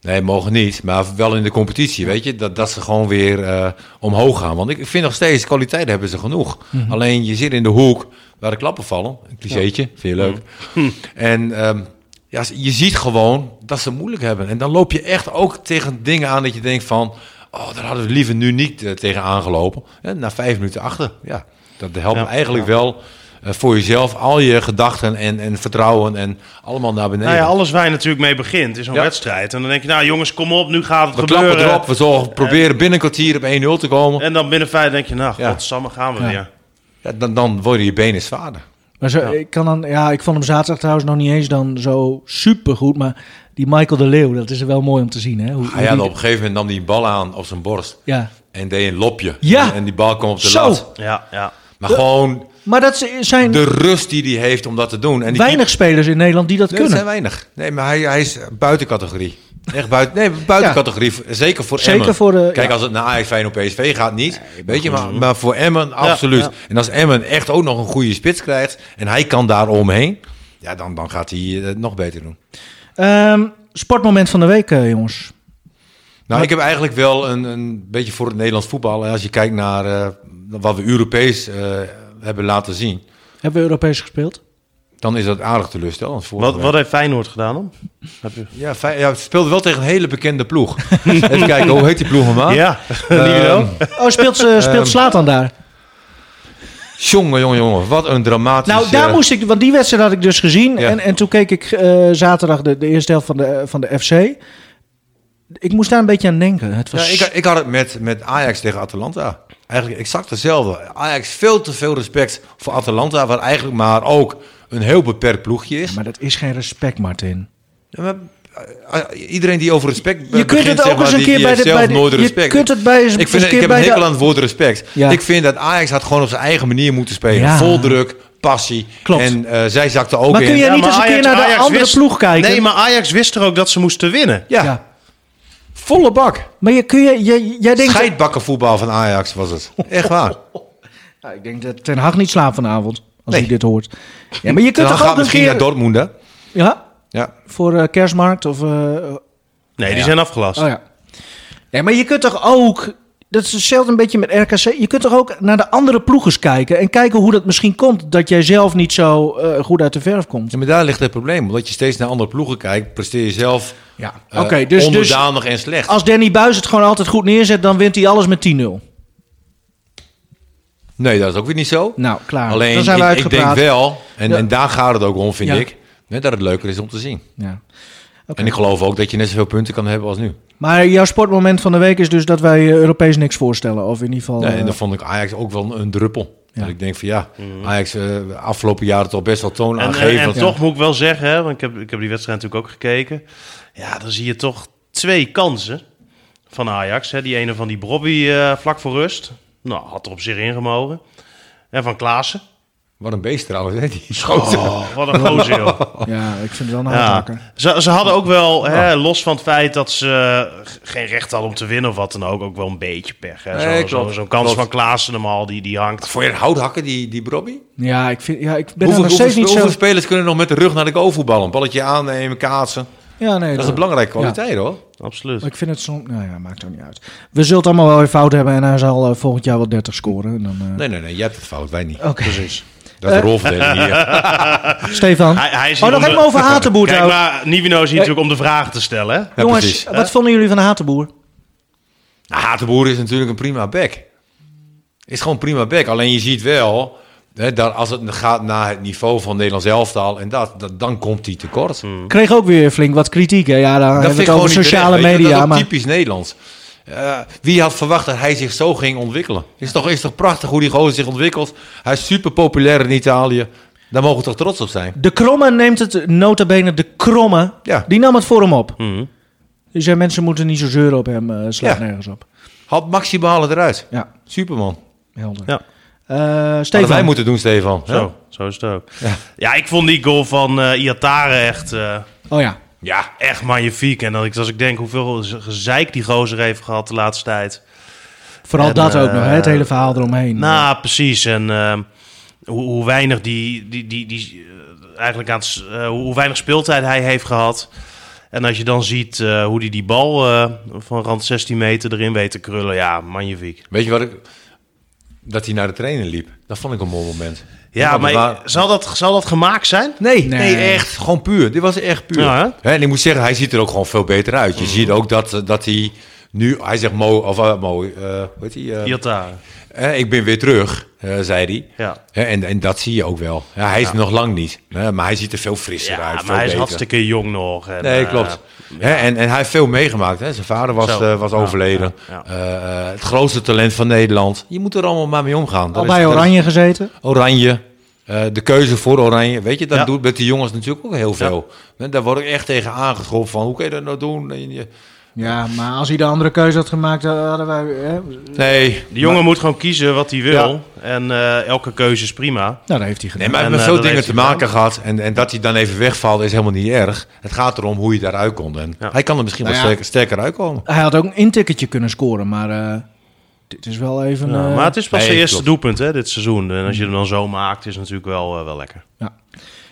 Speaker 4: Nee, mogen niet. Maar wel in de competitie, weet je. Dat, dat ze gewoon weer eh, omhoog gaan. Want ik vind nog steeds, kwaliteit hebben ze genoeg.
Speaker 2: Mhm.
Speaker 4: Alleen je zit in de hoek waar de klappen vallen. Een clichétje, vind je leuk.
Speaker 2: Mhm.
Speaker 4: En ehm, ja, je ziet gewoon dat ze het moeilijk hebben. En dan loop je echt ook tegen dingen aan dat je denkt van... Oh, daar hadden we liever nu niet eh, tegen aangelopen. En na vijf minuten achter, ja. Dat helpt
Speaker 2: Ja,
Speaker 4: eigenlijk wel eh, voor jezelf. Al je gedachten en, en vertrouwen en allemaal naar beneden.
Speaker 2: Nou ja, alles waar je natuurlijk mee begint is een
Speaker 4: Ja.
Speaker 2: wedstrijd. En dan denk je, nou jongens, kom op, nu gaat het
Speaker 4: We
Speaker 2: gebeuren.
Speaker 4: klappen erop, we zorgen, proberen binnen een kwartier op 1-0 te komen.
Speaker 2: En dan binnen vijf denk je, nou
Speaker 4: Ja.
Speaker 2: godsamme, gaan we
Speaker 3: Ja.
Speaker 2: weer.
Speaker 4: Ja, dan, dan worden je benen zwaarder.
Speaker 3: Maar zo, ik, kan dan, ja, ik vond hem zaterdag trouwens nog niet eens dan zo supergoed. Maar die Michael de Leeuw, dat is wel mooi om te zien. Hè? Hoe, hoe
Speaker 4: Hij had
Speaker 3: die-
Speaker 4: op een gegeven moment nam hij een bal aan op zijn borst
Speaker 3: ja.
Speaker 4: en deed een lopje.
Speaker 3: Ja.
Speaker 4: En die bal kwam op de
Speaker 3: Zo.
Speaker 4: lat.
Speaker 2: Ja, ja.
Speaker 4: Maar gewoon
Speaker 3: Maar dat z- zijn
Speaker 4: de rust die hij heeft om dat te doen. En die
Speaker 3: weinig spelers in Nederland die dat
Speaker 4: Nee, dat
Speaker 3: kunnen.
Speaker 4: zijn weinig. Nee, maar hij, hij is buiten categorie. Echt buiten, nee, buiten
Speaker 3: Ja.
Speaker 4: categorie. Zeker voor
Speaker 3: Zeker
Speaker 4: Emmen.
Speaker 3: voor, eh,
Speaker 4: Kijk,
Speaker 3: ja.
Speaker 4: als het naar Ajax, Feyenoord, PSV gaat niet. weet je, maar, maar voor Emmen absoluut.
Speaker 2: ja.
Speaker 4: En als Emmen echt ook nog een goede spits krijgt en hij kan daar omheen. Ja, dan, dan gaat hij eh, het nog beter doen.
Speaker 3: Ehm, sportmoment van de week, eh, jongens?
Speaker 4: Nou, ik heb eigenlijk wel een, een beetje voor het Nederlands voetbal. Als je kijkt naar eh, wat we Europees eh, hebben laten zien,
Speaker 3: Hebben we Europees gespeeld?
Speaker 4: dan is dat aardig teleurstellend. Vorige
Speaker 2: Wat, wat heeft Feyenoord gedaan dan? Heb je...
Speaker 4: week- Ja, fijn, ja, het speelde wel tegen een hele bekende ploeg. Even kijken, hoe heet die ploeg
Speaker 3: Ah.
Speaker 4: normaal?
Speaker 2: Ja,
Speaker 4: Ehm,
Speaker 3: Oh, speelt, ze speelt Slatan daar?
Speaker 4: Jongen, jongen, jongen, wat een dramatisch...
Speaker 3: Nou, daar
Speaker 4: eh,
Speaker 3: moest ik, want die wedstrijd had ik dus gezien.
Speaker 4: Ja.
Speaker 3: En, en toen keek ik eh, zaterdag de, de eerste helft van de, eh, van de FC. Ik moest daar een beetje aan denken. Het
Speaker 4: Ja,
Speaker 3: was
Speaker 4: ik, ik had het met, met Ajax tegen Atalanta. Eigenlijk exact hetzelfde. Ajax veel te veel respect voor Atalanta, wat eigenlijk maar ook een heel beperkt ploegje is.
Speaker 3: Maar dat is geen respect, Martin.
Speaker 4: Ja, maar, eh, eh, Iedereen die over respect
Speaker 3: kunt
Speaker 4: begint,
Speaker 3: het
Speaker 4: zeg
Speaker 3: ook
Speaker 4: maar,
Speaker 3: eens een
Speaker 4: die-
Speaker 3: keer
Speaker 4: die
Speaker 3: bij
Speaker 4: heeft
Speaker 3: de-
Speaker 4: zelf
Speaker 3: bij de-
Speaker 4: nooit
Speaker 3: je
Speaker 4: respect.
Speaker 3: kunt het bij eens-
Speaker 4: ik,
Speaker 3: eens
Speaker 4: vind,
Speaker 3: een
Speaker 4: ik heb
Speaker 3: keer
Speaker 4: een
Speaker 3: bij de-
Speaker 4: hekel aan het woord respect.
Speaker 3: Ja.
Speaker 4: Ik vind dat Ajax had gewoon op zijn eigen manier moeten spelen.
Speaker 3: Ja.
Speaker 4: Vol druk, passie.
Speaker 3: Klopt.
Speaker 4: En eh, zij zakte ook
Speaker 3: Maar
Speaker 4: in.
Speaker 3: kun je
Speaker 2: Ja,
Speaker 3: niet
Speaker 2: maar
Speaker 3: eens een keer
Speaker 2: Ajax-
Speaker 3: naar de
Speaker 2: Ajax
Speaker 3: andere
Speaker 2: wist-
Speaker 3: ploeg kijken?
Speaker 2: Nee, maar Ajax wist er ook dat ze moesten winnen.
Speaker 4: ja, volle bak.
Speaker 3: Maar je, kun je, je, jij denkt...
Speaker 4: Scheidbakkenvoetbal van Ajax was het. Echt waar.
Speaker 3: Nou, ik denk dat Ten Hag niet slaapt vanavond, als
Speaker 4: Nee.
Speaker 3: hij dit hoort. Ja, maar je
Speaker 4: Dan
Speaker 3: kunt toch
Speaker 4: gaat
Speaker 3: ook een
Speaker 4: misschien
Speaker 3: keer...
Speaker 4: naar Dortmund, hè?
Speaker 3: ja,
Speaker 4: Ja.
Speaker 3: voor eh, kerstmarkt of... eh,
Speaker 2: Nee, die zijn afgelast.
Speaker 3: Oh ja. Nee, maar je kunt toch ook. Dat is hetzelfde een beetje met RKC. Je kunt toch ook naar de andere ploegers kijken. En kijken hoe dat misschien komt. Dat jij zelf niet zo eh, goed uit de verf komt.
Speaker 4: Ja, maar daar ligt het probleem. Omdat je steeds naar andere ploegen kijkt, presteer je zelf
Speaker 3: Ja.
Speaker 4: eh,
Speaker 3: Oké, dus, dus
Speaker 4: onderdanig en slecht.
Speaker 3: als Danny Buis het gewoon altijd goed neerzet. dan wint hij alles met 10-0.
Speaker 4: Nee, dat is ook weer niet zo.
Speaker 3: Nou, klaar.
Speaker 4: Alleen,
Speaker 3: dan zijn we
Speaker 4: ik, ik denk
Speaker 3: uitgepraat.
Speaker 4: wel, en,
Speaker 3: Ja.
Speaker 4: en daar gaat het ook om, vind
Speaker 3: Ja.
Speaker 4: ik, hè, dat het leuker is om te zien.
Speaker 3: Ja. Oké.
Speaker 4: En ik geloof ook dat je net zoveel punten kan hebben als nu.
Speaker 3: Maar jouw sportmoment van de week is dus dat wij eh, Europees niks voorstellen. Of in ieder geval.
Speaker 4: Nee, en
Speaker 3: eh,
Speaker 4: dan vond ik Ajax ook wel een, een druppel.
Speaker 3: Ja.
Speaker 4: Dat ik denk van ja, Ajax eh afgelopen jaren toch best wel toon
Speaker 2: Mhm. En, en,
Speaker 4: aangegeven.
Speaker 2: en toch moet ik wel zeggen, hè, want ik heb, ik heb die wedstrijd natuurlijk ook gekeken. Ja, dan zie je toch twee kansen van Ajax. Hè. Die ene van die Brobby eh, vlak voor rust. Nou, had er op zich ingemogen. En van Klaassen.
Speaker 4: Wat een beest trouwens, hè, die schoten.
Speaker 2: Oh, wat een gozer, joh.
Speaker 3: ja, ik vind het wel een
Speaker 2: Ja.
Speaker 3: hardhakker.
Speaker 2: Ze, ze hadden ook wel, hè, los van het feit dat ze eh, g- geen recht hadden om te winnen of wat dan ook, ook wel een beetje pech. hè. Zo-
Speaker 4: Nee,
Speaker 2: zo- Zo'n
Speaker 4: klopt.
Speaker 2: kans
Speaker 4: Klopt.
Speaker 2: van Klaassen normaal, die, die hangt.
Speaker 4: Voor je een houthakken, die, die Brobby?
Speaker 3: Ja, ik, vind, ja, ik ben
Speaker 4: Hoeveel,
Speaker 3: er nog steeds
Speaker 4: hoeveel,
Speaker 3: niet zo.
Speaker 4: hoeveel spelers kunnen nog met de rug naar de goal voetballen? Een balletje aannemen, kaatsen.
Speaker 3: Ja, nee,
Speaker 4: Dat is
Speaker 3: dat-
Speaker 4: een belangrijke kwaliteit, hoor.
Speaker 2: Absoluut.
Speaker 3: Maar ik vind het soms... Nou ja, maakt ook niet uit. We zullen het allemaal wel weer fout hebben. En hij zal eh, volgend jaar wel 30 scoren. En dan, eh,
Speaker 4: Nee, nee, nee, jij hebt het fout, wij niet.
Speaker 3: Oké,
Speaker 4: Dat is
Speaker 3: Eh.
Speaker 4: de rolverdeling hier.
Speaker 3: Stefan.
Speaker 2: Hij- hij
Speaker 3: oh,
Speaker 2: is hier
Speaker 3: nog
Speaker 2: om de-
Speaker 3: even over Hatenboer
Speaker 2: Kijk,
Speaker 3: trouwens.
Speaker 2: maar Nivino is hier natuurlijk om de vragen te stellen. hè.
Speaker 4: Ja,
Speaker 3: Jongens,
Speaker 4: precies.
Speaker 3: wat vonden jullie van Hatenboer?
Speaker 4: Nou, Hatenboer is natuurlijk een prima back. Is gewoon prima back. Alleen je ziet wel, hè, dat als het gaat naar het niveau van Nederlands elftal en dat, dat- dan komt hij tekort.
Speaker 2: Hmm.
Speaker 3: Kreeg ook weer flink wat kritiek. Hè? Ja, dan hebben we het over
Speaker 4: niet
Speaker 3: sociale
Speaker 4: terecht, weet je.
Speaker 3: media.
Speaker 4: Dat is ook
Speaker 3: maar
Speaker 4: typisch Nederlands. Eh, wie had verwacht dat hij zich zo ging ontwikkelen? Is toch, is toch prachtig hoe die gozer zich ontwikkelt? Hij is super populair in Italië. Daar mogen we toch trots op zijn?
Speaker 3: de Kromme neemt het, nota bene de Kromme,
Speaker 4: Ja.
Speaker 3: die nam het voor hem op.
Speaker 2: Mhm.
Speaker 3: Dus ja, mensen moeten niet zo zeuren op hem, eh slaat
Speaker 4: Ja.
Speaker 3: nergens op.
Speaker 4: Had Maxi behalen eruit.
Speaker 3: Ja,
Speaker 4: Superman.
Speaker 3: helder.
Speaker 2: Ja.
Speaker 3: Eh, Stefan,
Speaker 4: Wat wij moeten doen, Stefan. hè?
Speaker 2: Zo, zo is het ook. Ja. ik vond die goal van eh Iatare echt, eh,
Speaker 3: oh ja,
Speaker 4: Ja.
Speaker 2: echt magnifiek. En dat ik, als ik denk hoeveel z- gezeik die gozer heeft gehad de laatste tijd.
Speaker 3: vooral
Speaker 2: En,
Speaker 3: dat ook nog, hè? het
Speaker 2: eh,
Speaker 3: hele verhaal eromheen.
Speaker 2: Nou, precies. En ehm, hoe, hoe weinig die, die, die, die eh, eigenlijk aan het s- eh, hoe weinig speeltijd hij heeft gehad. En als je dan ziet eh, hoe hij die bal eh, van rand 16 meter erin weet te krullen, ja, magnifiek.
Speaker 4: Weet je wat ik... Dat hij naar de trainer liep. Dat vond ik een mooi moment.
Speaker 2: Ja,
Speaker 4: Want
Speaker 2: maar
Speaker 4: we waren-
Speaker 2: zal, dat, zal dat gemaakt zijn?
Speaker 4: Nee,
Speaker 3: Nee.
Speaker 4: nee. echt. Gewoon puur. Dit was echt puur.
Speaker 2: Ja, Mhm.
Speaker 4: Hè, en ik moet zeggen, hij ziet er ook gewoon veel beter uit. Je ziet ook dat, eh, dat hij nu... Hij zegt Mo... Of eh, Mo... eh, hoe heet hij? eh,
Speaker 2: Iatare.
Speaker 4: eh, ik ben weer terug, eh, zei hij.
Speaker 2: Ja.
Speaker 4: Hè, en, en dat zie je ook wel. Ja, hij is nog lang niet. hè, maar hij ziet er veel frisser
Speaker 2: Ja,
Speaker 4: uit.
Speaker 2: maar
Speaker 4: veel
Speaker 2: hij is
Speaker 4: beter.
Speaker 2: hartstikke jong nog. En,
Speaker 4: Nee,
Speaker 2: eh,
Speaker 4: klopt. Hè, en, en hij heeft veel meegemaakt. Hè? Zijn vader was,
Speaker 2: Zo.
Speaker 4: eh, was
Speaker 2: Ja,
Speaker 4: overleden.
Speaker 2: ja,
Speaker 4: Eh, eh, het grootste talent van Nederland. Je moet er allemaal maar mee omgaan.
Speaker 3: al
Speaker 4: Dat
Speaker 3: bij
Speaker 4: is- dat is-
Speaker 3: Oranje gezeten.
Speaker 4: Oranje. eh, de keuze voor Oranje. Weet je, dat
Speaker 2: Ja.
Speaker 4: doet met die jongens natuurlijk ook heel veel. Hè, Daar word ik echt tegen aangetroffen van. Hoe kan je dat nou doen? En je-
Speaker 3: Ja, maar als hij de andere keuze had gemaakt, dan hadden wij... Hè?
Speaker 4: Nee.
Speaker 2: De jongen moet gewoon kiezen wat hij wil. En eh, elke keuze is prima.
Speaker 3: Nou, dat heeft hij gedaan.
Speaker 4: Nee, maar
Speaker 2: En,
Speaker 4: met
Speaker 2: eh,
Speaker 4: veel
Speaker 2: dat
Speaker 4: dingen
Speaker 2: heeft
Speaker 4: te
Speaker 2: hij
Speaker 4: maken gehad. En, en dat hij dan even wegvalt is helemaal niet erg. Het gaat erom hoe je daaruit komt. En
Speaker 2: Ja.
Speaker 4: hij kan er misschien
Speaker 3: Nou
Speaker 4: wel
Speaker 3: ja.
Speaker 4: sterker, sterker uitkomen.
Speaker 3: Hij had ook een intikketje kunnen scoren, maar eh, dit is wel even...
Speaker 2: Ja,
Speaker 3: eh,
Speaker 2: Nou, maar het is pas
Speaker 4: nee,
Speaker 2: zijn eerste
Speaker 4: klopt.
Speaker 2: doelpunt hè, dit seizoen. En als je hem dan zo maakt, is het natuurlijk wel, eh, wel lekker.
Speaker 3: ja.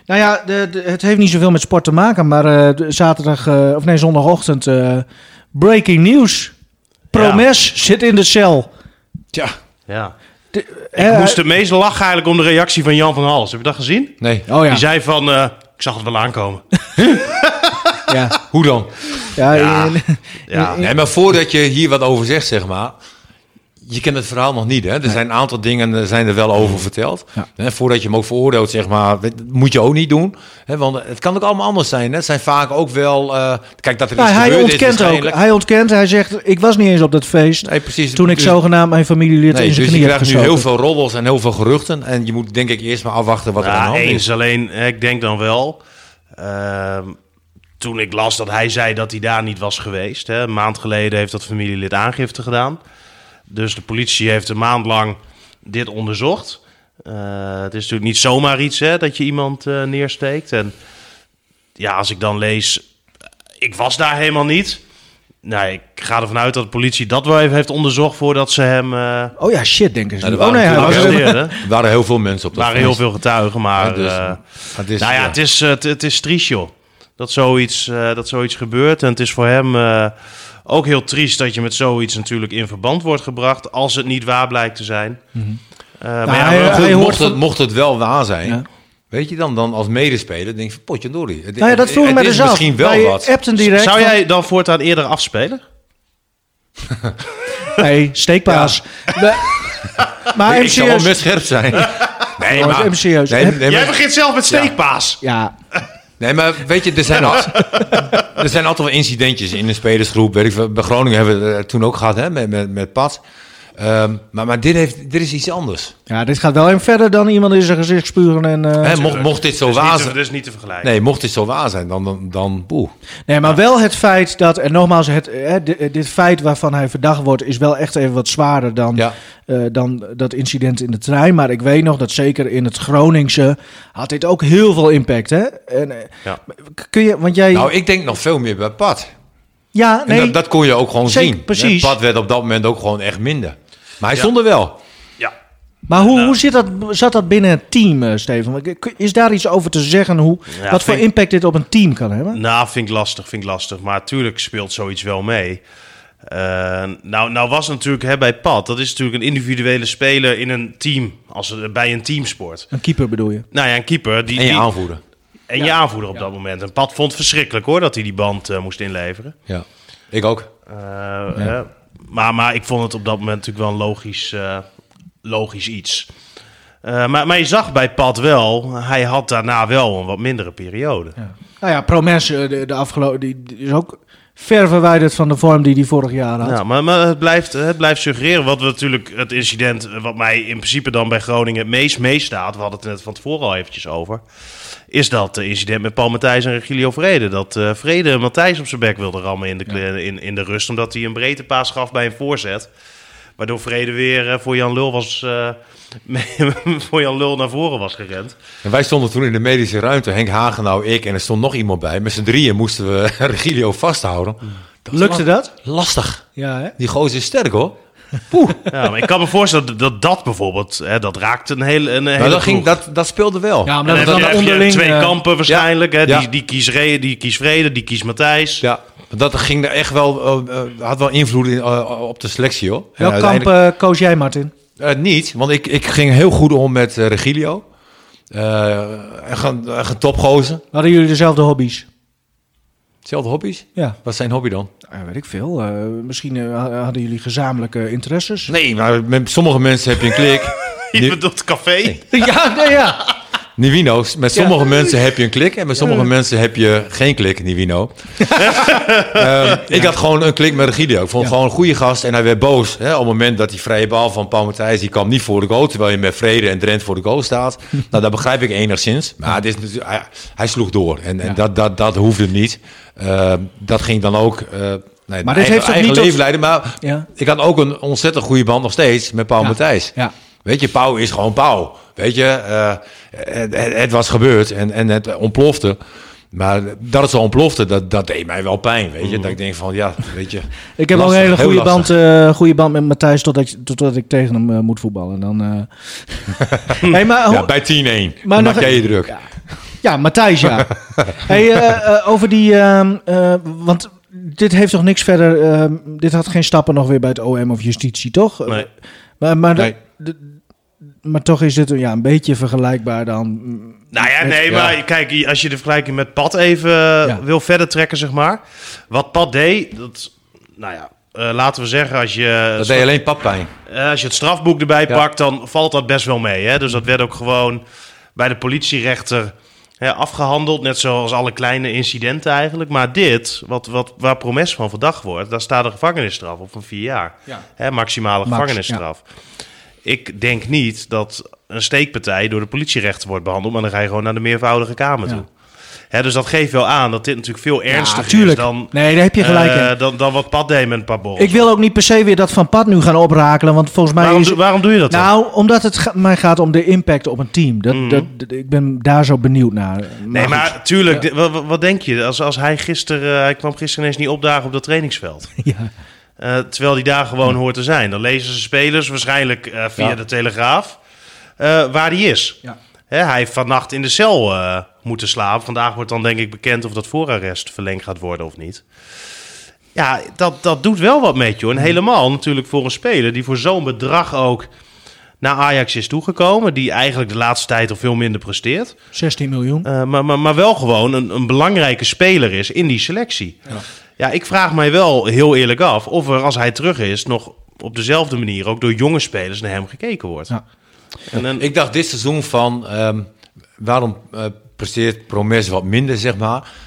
Speaker 3: Nou ja, de, de- het heeft niet zoveel met sport te maken, maar eh, de- zaterdag, eh, of nee, zondagochtend, eh, breaking news. Promes zit in de cel.
Speaker 4: Tja.
Speaker 2: Ja.
Speaker 3: Eh,
Speaker 2: Ik moest het meest lachen eigenlijk om de reactie van Jan van Hals. Heb je dat gezien?
Speaker 4: Nee.
Speaker 3: Oh ja.
Speaker 2: Die zei van, eh, ik zag het wel aankomen.
Speaker 3: ja.
Speaker 4: Hoe dan?
Speaker 3: Ja, eh,
Speaker 2: Ja.
Speaker 3: in-
Speaker 2: Ja,
Speaker 4: Nee, maar voordat je hier wat over zegt, zeg maar. Je kent het verhaal nog niet, hè? Er zijn een aantal dingen eh, zijn er wel over verteld. Hè, voordat je hem ook veroordeelt, zeg maar, weet- dat moet je ook niet doen. Hè, want het kan ook allemaal anders zijn. Hè? Het zijn vaak ook wel... eh, kijk, dat er
Speaker 3: Nou,
Speaker 4: iets
Speaker 3: hij
Speaker 4: gebeurd is
Speaker 3: ontkent ook.
Speaker 4: waarschijnlijk.
Speaker 3: Hij ontkent, hij zegt, ik was niet eens op dat feest
Speaker 4: Nee, precies.
Speaker 3: toen ik
Speaker 4: Dus-
Speaker 3: zogenaamd mijn familielid
Speaker 4: Nee,
Speaker 3: in zijn
Speaker 4: dus je
Speaker 3: knie heb
Speaker 4: krijgt nu
Speaker 3: gestoken.
Speaker 4: heel veel roddels en heel veel geruchten. En je moet denk ik eerst maar afwachten wat er aan de
Speaker 2: Ja,
Speaker 4: hand
Speaker 2: eens.
Speaker 4: is.
Speaker 2: Alleen, eh, ik denk dan wel... ehm, toen ik las dat hij zei dat hij daar niet was geweest. Hè, een maand geleden heeft dat familielid aangifte gedaan. Dus de politie heeft een maand lang dit onderzocht. Eh, het is natuurlijk niet zomaar iets hè, dat je iemand eh, neersteekt. En ja, als ik dan lees... Ik was daar helemaal niet. Nou, ik ga ervan uit dat de politie dat wel even heeft onderzocht... voordat ze hem... eh,
Speaker 3: Oh ja, shit, denken ze.
Speaker 4: Nou, Ja,
Speaker 3: nu.
Speaker 4: er
Speaker 3: oh
Speaker 4: waren
Speaker 3: nee, hij was
Speaker 4: natuurlijk
Speaker 3: er.
Speaker 4: ook-
Speaker 2: arresteren. Er
Speaker 4: Er waren heel veel mensen op dat
Speaker 2: waren heel
Speaker 4: feest.
Speaker 2: veel getuigen, maar...
Speaker 4: Ja, dus,
Speaker 2: eh,
Speaker 4: Het is,
Speaker 2: nou ja,
Speaker 4: ja.
Speaker 2: het is, eh, het, het is triest, joh. Dat zoiets, eh, dat zoiets gebeurt. En het is voor hem eh, ook heel triest dat je met zoiets natuurlijk in verband wordt gebracht. Als het niet waar blijkt te zijn. Eh, maar ja,
Speaker 3: hij-
Speaker 2: maar goed,
Speaker 4: Goed,
Speaker 3: hoort
Speaker 4: mocht, het,
Speaker 3: van-
Speaker 4: mocht het wel waar zijn,
Speaker 3: Ja.
Speaker 4: weet je dan, dan als medespeler, denk je van potje dorie. Het,
Speaker 3: Nou ja, dat
Speaker 4: het-
Speaker 3: vroeg ik
Speaker 4: het
Speaker 3: me
Speaker 4: is
Speaker 3: dus af.
Speaker 4: misschien wel
Speaker 3: Wij
Speaker 4: wat.
Speaker 3: appten direct.
Speaker 2: zou
Speaker 3: van-
Speaker 2: jij dan voortaan eerder afspelen?
Speaker 3: Nee, steekpaas. We- Maar
Speaker 4: Ik-
Speaker 3: even
Speaker 4: ik zal wel
Speaker 3: serieus.
Speaker 4: best scherp zijn. nee,
Speaker 3: Jongens, even serieus.
Speaker 4: Nee, nee,
Speaker 2: Jij
Speaker 4: maar,
Speaker 2: begint zelf met steekpaas.
Speaker 3: Ja,
Speaker 4: nee, maar weet je, er zijn, al, er zijn altijd wel incidentjes in de spelersgroep. Weet ik, veel. bij Groningen hebben we het eh, toen ook gehad hè, met, met, met Pat. Ehm, maar maar dit, heeft, dit is iets anders.
Speaker 3: ja, dit gaat wel even verder dan iemand in zijn gezicht spuren. En, eh,
Speaker 4: hè, mocht, mocht dit zo
Speaker 2: Dus
Speaker 4: waar
Speaker 2: niet, te,
Speaker 4: zijn...
Speaker 2: dus niet te vergelijken.
Speaker 4: Nee, mocht dit zo waar zijn, dan... dan, dan boe.
Speaker 3: Nee, maar wel het feit dat, en nogmaals, het, eh, di- dit, feit waarvan hij verdacht wordt, is wel echt even wat zwaarder dan,
Speaker 4: Ja.
Speaker 3: eh, dan dat incident in de trein. Maar ik weet nog dat zeker in het Groningse had dit ook heel veel impact. Hè? En, eh,
Speaker 2: Ja.
Speaker 3: k- kun je, want jij.
Speaker 4: Nou, ik denk nog veel meer bij Pat.
Speaker 3: ja,
Speaker 4: En
Speaker 3: nee.
Speaker 4: dat, dat kon je ook gewoon
Speaker 3: Zeker,
Speaker 4: zien.
Speaker 3: precies.
Speaker 4: Pat werd op dat moment ook gewoon echt minder. Maar hij stond er wel.
Speaker 2: Ja.
Speaker 3: maar
Speaker 4: Nou.
Speaker 3: hoe, hoe zit dat, zat dat binnen het team, eh, Steven? Want ik- Is daar iets over te zeggen? Hoe,
Speaker 2: Ja,
Speaker 3: wat voor
Speaker 2: vind-
Speaker 3: impact dit op een team kan hebben?
Speaker 2: Nou, vind ik lastig, vind ik lastig. Maar tuurlijk speelt zoiets wel mee. Eh, nou, nou was natuurlijk hè, bij Pat, dat is natuurlijk een individuele speler in een team, als, het- bij een teamsport.
Speaker 3: Een keeper bedoel je?
Speaker 2: Nou ja, een keeper. Die,
Speaker 4: En je
Speaker 2: die-
Speaker 4: aanvoerder.
Speaker 2: en je aanvoerder op dat moment. En Pat vond het verschrikkelijk hoor, dat hij die band eh, moest inleveren.
Speaker 4: Ja. Ik ook.
Speaker 2: Eh, eh, maar, maar ik vond het op dat moment natuurlijk wel een logisch, eh, logisch iets. Eh, maar, maar je zag bij Pat wel, hij had daarna wel een wat mindere periode.
Speaker 3: Nou ja, Promes, eh, de, de afgelopen, die, die is ook ver verwijderd van de vorm die hij vorig jaar had.
Speaker 2: Ja, maar, maar het, blijft, het blijft suggereren. Wat we natuurlijk, het incident eh, wat mij in principe dan bij Groningen het meest meestaat. We hadden het er net van tevoren al eventjes over. Is dat eh, incident met Paul Matthijs en Regilio Vrede. Dat eh, Vrede Matthijs op zijn bek wilde rammen in de, kle- in, in de rust. Omdat hij een breedte paas gaf bij een voorzet. Waardoor Vrede weer eh, voor Jan Lul was... eh, mee- voor Jan Lul naar voren was gerend.
Speaker 4: En wij stonden toen in de medische ruimte. Henk Hagenau, ik en er stond nog iemand bij. Met z'n drieën moesten we Regilio vasthouden. Dat was
Speaker 3: Lukte
Speaker 4: la-
Speaker 3: dat?
Speaker 4: Lastig.
Speaker 3: Ja, hè?
Speaker 4: Die gozer is sterk hoor.
Speaker 2: Ja, maar ik kan me voorstellen dat dat, dat bijvoorbeeld... Hè, dat raakt een hele, een hele
Speaker 4: Maar dat, ging,
Speaker 2: ploeg.
Speaker 4: dat, dat speelde wel.
Speaker 3: Ja,
Speaker 2: En
Speaker 3: maar
Speaker 2: dan
Speaker 3: dat is
Speaker 2: heb
Speaker 3: dan
Speaker 2: je, heb je
Speaker 3: onderling...
Speaker 2: twee
Speaker 3: eh,
Speaker 2: kampen waarschijnlijk. hè?
Speaker 4: ja.
Speaker 2: Die, die kiest Re- die kiest Vrede, die kiest Matthijs.
Speaker 4: Ja. Maar Dat ging er echt wel, eh, eh, had wel invloed in, eh, op de selectie hoor. En
Speaker 3: Welk kamp
Speaker 4: uiteindelijk-
Speaker 3: eh, koos jij, Martin?
Speaker 4: Eh, niet, want ik, ik ging heel goed om met eh, Regilio. Eh echt, een, echt een topgozer.
Speaker 3: Hadden jullie dezelfde hobby's?
Speaker 4: Hetzelfde hobby's.
Speaker 3: Ja.
Speaker 4: Wat is zijn hobby dan?
Speaker 3: weet ik veel. Eh, misschien eh, ha- hadden jullie gezamenlijke interesses.
Speaker 4: Nee, maar met sommige mensen heb je een klik.
Speaker 2: Je
Speaker 4: Nu-
Speaker 2: bedoelt café.
Speaker 3: ja, nee, ja.
Speaker 4: Nivino, met sommige mensen heb je een klik en met sommige mensen heb je geen klik, Nivino. Ehm, ik had gewoon een klik met Regidio. Ik vond hem gewoon een goede gast en hij werd boos. Hè, op het moment dat die vrije bal van Paul Matthijs, die kwam niet voor de goal. Terwijl je met Vrede en Drent voor de goal staat. nou, dat begrijp ik enigszins. Maar het is natuurlijk, hij, hij sloeg door en, en dat, dat, dat hoefde hem niet. Ehm, dat ging dan ook... eh, nee,
Speaker 3: Maar dit
Speaker 4: mijn eigen,
Speaker 3: heeft ook
Speaker 4: eigen
Speaker 3: niet tot-
Speaker 4: leven leiden. Maar
Speaker 3: Ja.
Speaker 4: ik had ook een ontzettend goede band nog steeds met Paul
Speaker 3: Ja.
Speaker 4: Matthijs.
Speaker 3: Ja.
Speaker 4: Weet je, Pauw is gewoon Pauw. Weet je, eh, het, het- het was gebeurd en, en het ontplofte. Maar dat het zo ontplofte, dat, dat deed mij wel pijn. Weet je,
Speaker 3: Mm.
Speaker 4: dat ik denk van ja, weet je.
Speaker 3: Ik heb ook
Speaker 4: lastig,
Speaker 3: een hele
Speaker 4: heel
Speaker 3: goede
Speaker 4: lastig.
Speaker 3: band, eh, goede band met Matthijs totdat, je- totdat ik tegen hem eh, moet voetballen. Dan, eh. hey, maar, hoe-
Speaker 4: Ja, bij 10-1.
Speaker 3: Maar
Speaker 4: Maar
Speaker 3: nog-
Speaker 4: maak jij je druk.
Speaker 3: Ja, Matthijs, ja. hey, eh, eh, over die... ehm, eh, want dit heeft toch niks verder... ehm, dit had geen stappen nog weer bij het OM of justitie, toch? Eh,
Speaker 2: Nee.
Speaker 3: Maar, maar, de-
Speaker 4: Nee.
Speaker 3: de- maar toch is dit ja, een beetje vergelijkbaar dan... mm,
Speaker 2: Nou ja,
Speaker 3: met-
Speaker 2: nee,
Speaker 4: ja.
Speaker 2: maar kijk, als je de vergelijking met Pat even eh, wil verder trekken, zeg maar. Wat Pat deed, dat, nou ja, eh, laten we zeggen, als je,
Speaker 4: Dat deed alleen pappijn.
Speaker 2: eh, als je het strafboek erbij
Speaker 4: Ja.
Speaker 2: pakt, dan valt dat best wel mee. Hè? Dus dat werd ook gewoon bij de politierechter hè, afgehandeld, net zoals alle kleine incidenten eigenlijk. Maar dit, wat, wat, waar promes van verdacht wordt, daar staat een gevangenisstraf op van vier jaar. Hè, maximale
Speaker 3: Max,
Speaker 2: gevangenisstraf. Ik denk niet dat een steekpartij door de politierechter wordt behandeld, maar dan ga je gewoon naar de meervoudige kamer
Speaker 3: Ja.
Speaker 2: toe. Hè, dus dat geeft wel aan dat dit natuurlijk veel
Speaker 3: Ja,
Speaker 2: ernstiger is
Speaker 3: tuurlijk.
Speaker 2: dan,
Speaker 3: nee, daar heb je gelijk in.
Speaker 2: eh, dan, dan wat Pat deed met een paar borrels.
Speaker 3: Ik wil ook niet per se weer dat van pad nu gaan oprakelen, want volgens mij
Speaker 2: waarom,
Speaker 3: is...
Speaker 2: doe- waarom doe je dat dan?
Speaker 3: Nou, omdat het ga- mij gaat om de impact op een team. Dat, dat, dat- ik ben daar zo benieuwd naar.
Speaker 2: Nee,
Speaker 3: goed.
Speaker 2: maar tuurlijk, di- wa- wa- wat, denk je? Als, als hij gisteren, eh, hij kwam gisteren ineens niet opdagen op dat trainingsveld.
Speaker 3: Ja.
Speaker 2: Eh, terwijl hij daar gewoon hoort te zijn. Dan lezen ze spelers waarschijnlijk eh, via
Speaker 4: Ja.
Speaker 2: de Telegraaf eh, waar hij is.
Speaker 3: Ja.
Speaker 2: Hè, hij heeft vannacht in de cel eh, moeten slapen. Vandaag wordt dan denk ik bekend of dat voorarrest verlengd gaat worden of niet. Ja, dat, dat doet wel wat met je. En helemaal natuurlijk voor een speler die voor zo'n bedrag ook naar Ajax is toegekomen. Die eigenlijk de laatste tijd al veel minder presteert.
Speaker 3: 16 miljoen.
Speaker 2: Eh, maar, maar, maar wel gewoon een, een belangrijke speler is in die selectie. Ja. ik vraag mij wel heel eerlijk af of er als hij terug is nog op dezelfde manier ook door jonge spelers naar hem gekeken wordt.
Speaker 3: Ja.
Speaker 2: En, en,
Speaker 4: Ik dacht dit seizoen van, ehm, waarom eh, presteert Promes wat minder, zeg maar. Hij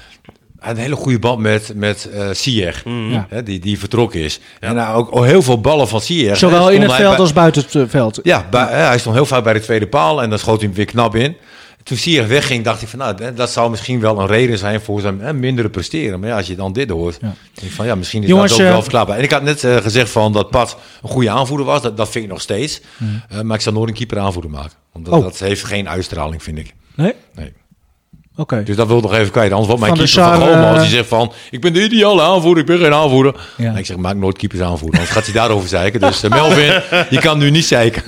Speaker 4: had Een hele goede band met, met eh Ziyech,
Speaker 3: Mm. Ja.
Speaker 4: hè, die, die vertrokken is. En hij ook ook heel veel ballen van Ziyech.
Speaker 3: Zowel
Speaker 4: hè,
Speaker 3: in het
Speaker 4: stond hij
Speaker 3: veld
Speaker 4: bij-
Speaker 3: als buiten het eh, veld.
Speaker 4: Ja, bij- hè, hij stond heel vaak bij de tweede paal en dan schoot hij hem weer knap in. Toen Ziyech wegging, dacht ik van, nou, dat- dat zou misschien wel een reden zijn voor zijn hè, mindere presteren. Maar ja, als je dan dit hoort, denk ik van, ja, misschien is
Speaker 3: Jongens,
Speaker 4: dat ook
Speaker 3: eh,
Speaker 4: wel verklaarbaar. En ik had net eh, gezegd van dat Pat een goede aanvoerder was. Dat, dat vind ik nog steeds. Eh, maar ik zou nooit een keeper aanvoerder maken. Omdat
Speaker 3: Oh.
Speaker 4: dat heeft geen uitstraling, vind ik.
Speaker 3: Nee?
Speaker 4: Nee.
Speaker 3: Oké.
Speaker 4: Dus dat wil ik nog even kwijt. Anders wordt mijn
Speaker 3: Van der
Speaker 4: keeper van
Speaker 3: Sar,
Speaker 4: Goma,
Speaker 3: eh,
Speaker 4: als die zegt van... ik ben de ideale aanvoerder, ik ben geen aanvoerder.
Speaker 3: Ja.
Speaker 4: En ik zeg, maak nooit keepers aanvoerder. Anders gaat hij daarover zeiken. Dus eh, Melvin, je kan nu niet zeiken.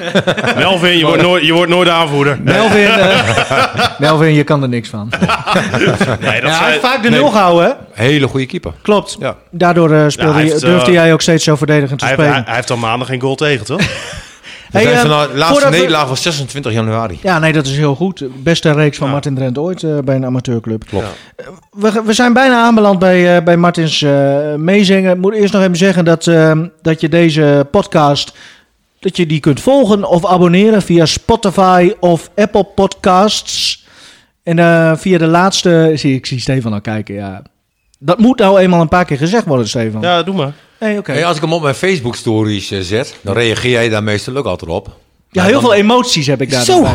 Speaker 2: Melvin, je wordt nooit, je wordt nooit aanvoerder.
Speaker 3: Melvin, eh, Melvin, je kan er niks van.
Speaker 2: Nee, dat
Speaker 3: Ja, hij
Speaker 2: zei-
Speaker 3: heeft vaak de
Speaker 4: nee.
Speaker 3: nul gehouden, hè?
Speaker 4: Hele goede keeper.
Speaker 3: Klopt.
Speaker 4: Ja.
Speaker 3: Daardoor eh, speelde
Speaker 2: Ja, hij
Speaker 3: je-
Speaker 2: heeft,
Speaker 3: durfde
Speaker 2: eh,
Speaker 3: jij ook steeds zo verdedigend te
Speaker 2: hij,
Speaker 3: spelen.
Speaker 2: hij, hij heeft al maanden geen goal tegen, toch?
Speaker 4: We
Speaker 3: Hey,
Speaker 4: zijn
Speaker 3: eh,
Speaker 4: vanaf de laatste
Speaker 3: voordat we-
Speaker 4: nederlaag was 26 januari.
Speaker 3: Ja, nee, dat is heel goed. Beste reeks van Martin Drent ooit eh, bij een amateurclub. Eh,
Speaker 4: Klopt.
Speaker 3: We, we zijn bijna aanbeland bij, eh, bij Martins eh, meezingen. Ik moet eerst nog even zeggen dat, eh, dat je deze podcast... dat je die kunt volgen of abonneren via Spotify of Apple Podcasts. En eh, via de laatste... Zie, ik zie Stefan al kijken, ja. Dat moet nou eenmaal een paar keer gezegd worden, Stefan.
Speaker 2: ja, doe maar.
Speaker 3: Nee, oké.
Speaker 4: Hey, als ik hem op mijn Facebook stories eh, zet, dan reageer jij daar meestal ook altijd op.
Speaker 3: Ja, heel veel emoties heb ik daar.
Speaker 4: Zo.
Speaker 3: bij.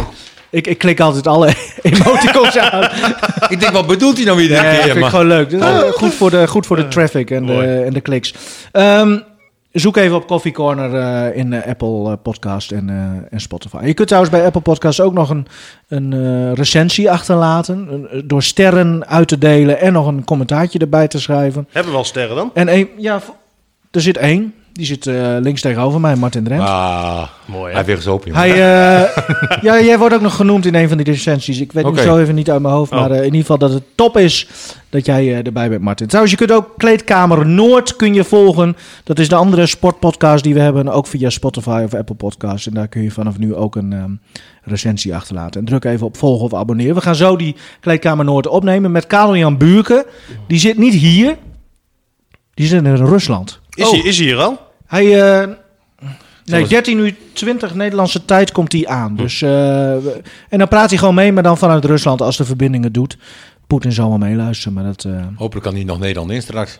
Speaker 3: Ik, ik klik altijd alle emoticons aan.
Speaker 4: ik denk, wat bedoelt hij nou iedere
Speaker 3: Ja, dat
Speaker 4: keer?
Speaker 3: vind ik
Speaker 4: Maar-
Speaker 3: gewoon leuk. Dus, eh, goed, voor de, goed voor de traffic en
Speaker 2: mooi.
Speaker 3: de, en de kliks. Ehm, zoek even op Coffee Corner eh, in eh, Apple eh, Podcast en, eh, en Spotify. Je kunt trouwens bij Apple Podcast ook nog een, een eh, recensie achterlaten. eh, door sterren uit te delen en nog een commentaartje erbij te schrijven.
Speaker 2: Hebben we al sterren dan?
Speaker 3: En één, ja, v- er zit één. Die zit eh, links tegenover mij, Martin Drent.
Speaker 4: Ah,
Speaker 2: Mooi,
Speaker 4: hij
Speaker 2: hè?
Speaker 4: heeft weer gezopen. jongen.
Speaker 3: Hij, eh, ja, jij wordt ook nog genoemd in een van die recensies. Ik weet
Speaker 4: Oké.
Speaker 3: het zo even niet uit mijn hoofd.
Speaker 2: Oh.
Speaker 3: Maar eh, in ieder geval dat het top is dat jij eh, erbij bent, Martin. Trouwens, je kunt ook Kleedkamer Noord kun je volgen. Dat is de andere sportpodcast die we hebben. Ook via Spotify of Apple Podcasts. En daar kun je vanaf nu ook een ehm, recensie achterlaten. En druk even op volgen of abonneer. We gaan zo die Kleedkamer Noord opnemen met Karel-Jan Buurke. Die zit niet hier. Die zit in Rusland.
Speaker 2: Is,
Speaker 3: Oh.
Speaker 2: hij, is hij hier al?
Speaker 3: Hij, eh, nee, 13 uur 20 Nederlandse tijd komt hij aan. Dus, eh, we- en dan praat hij gewoon mee, maar dan vanuit Rusland als de verbindingen doet. Poetin zal wel meeluisteren, maar dat... eh,
Speaker 4: Hopelijk kan hij nog Nederland in straks.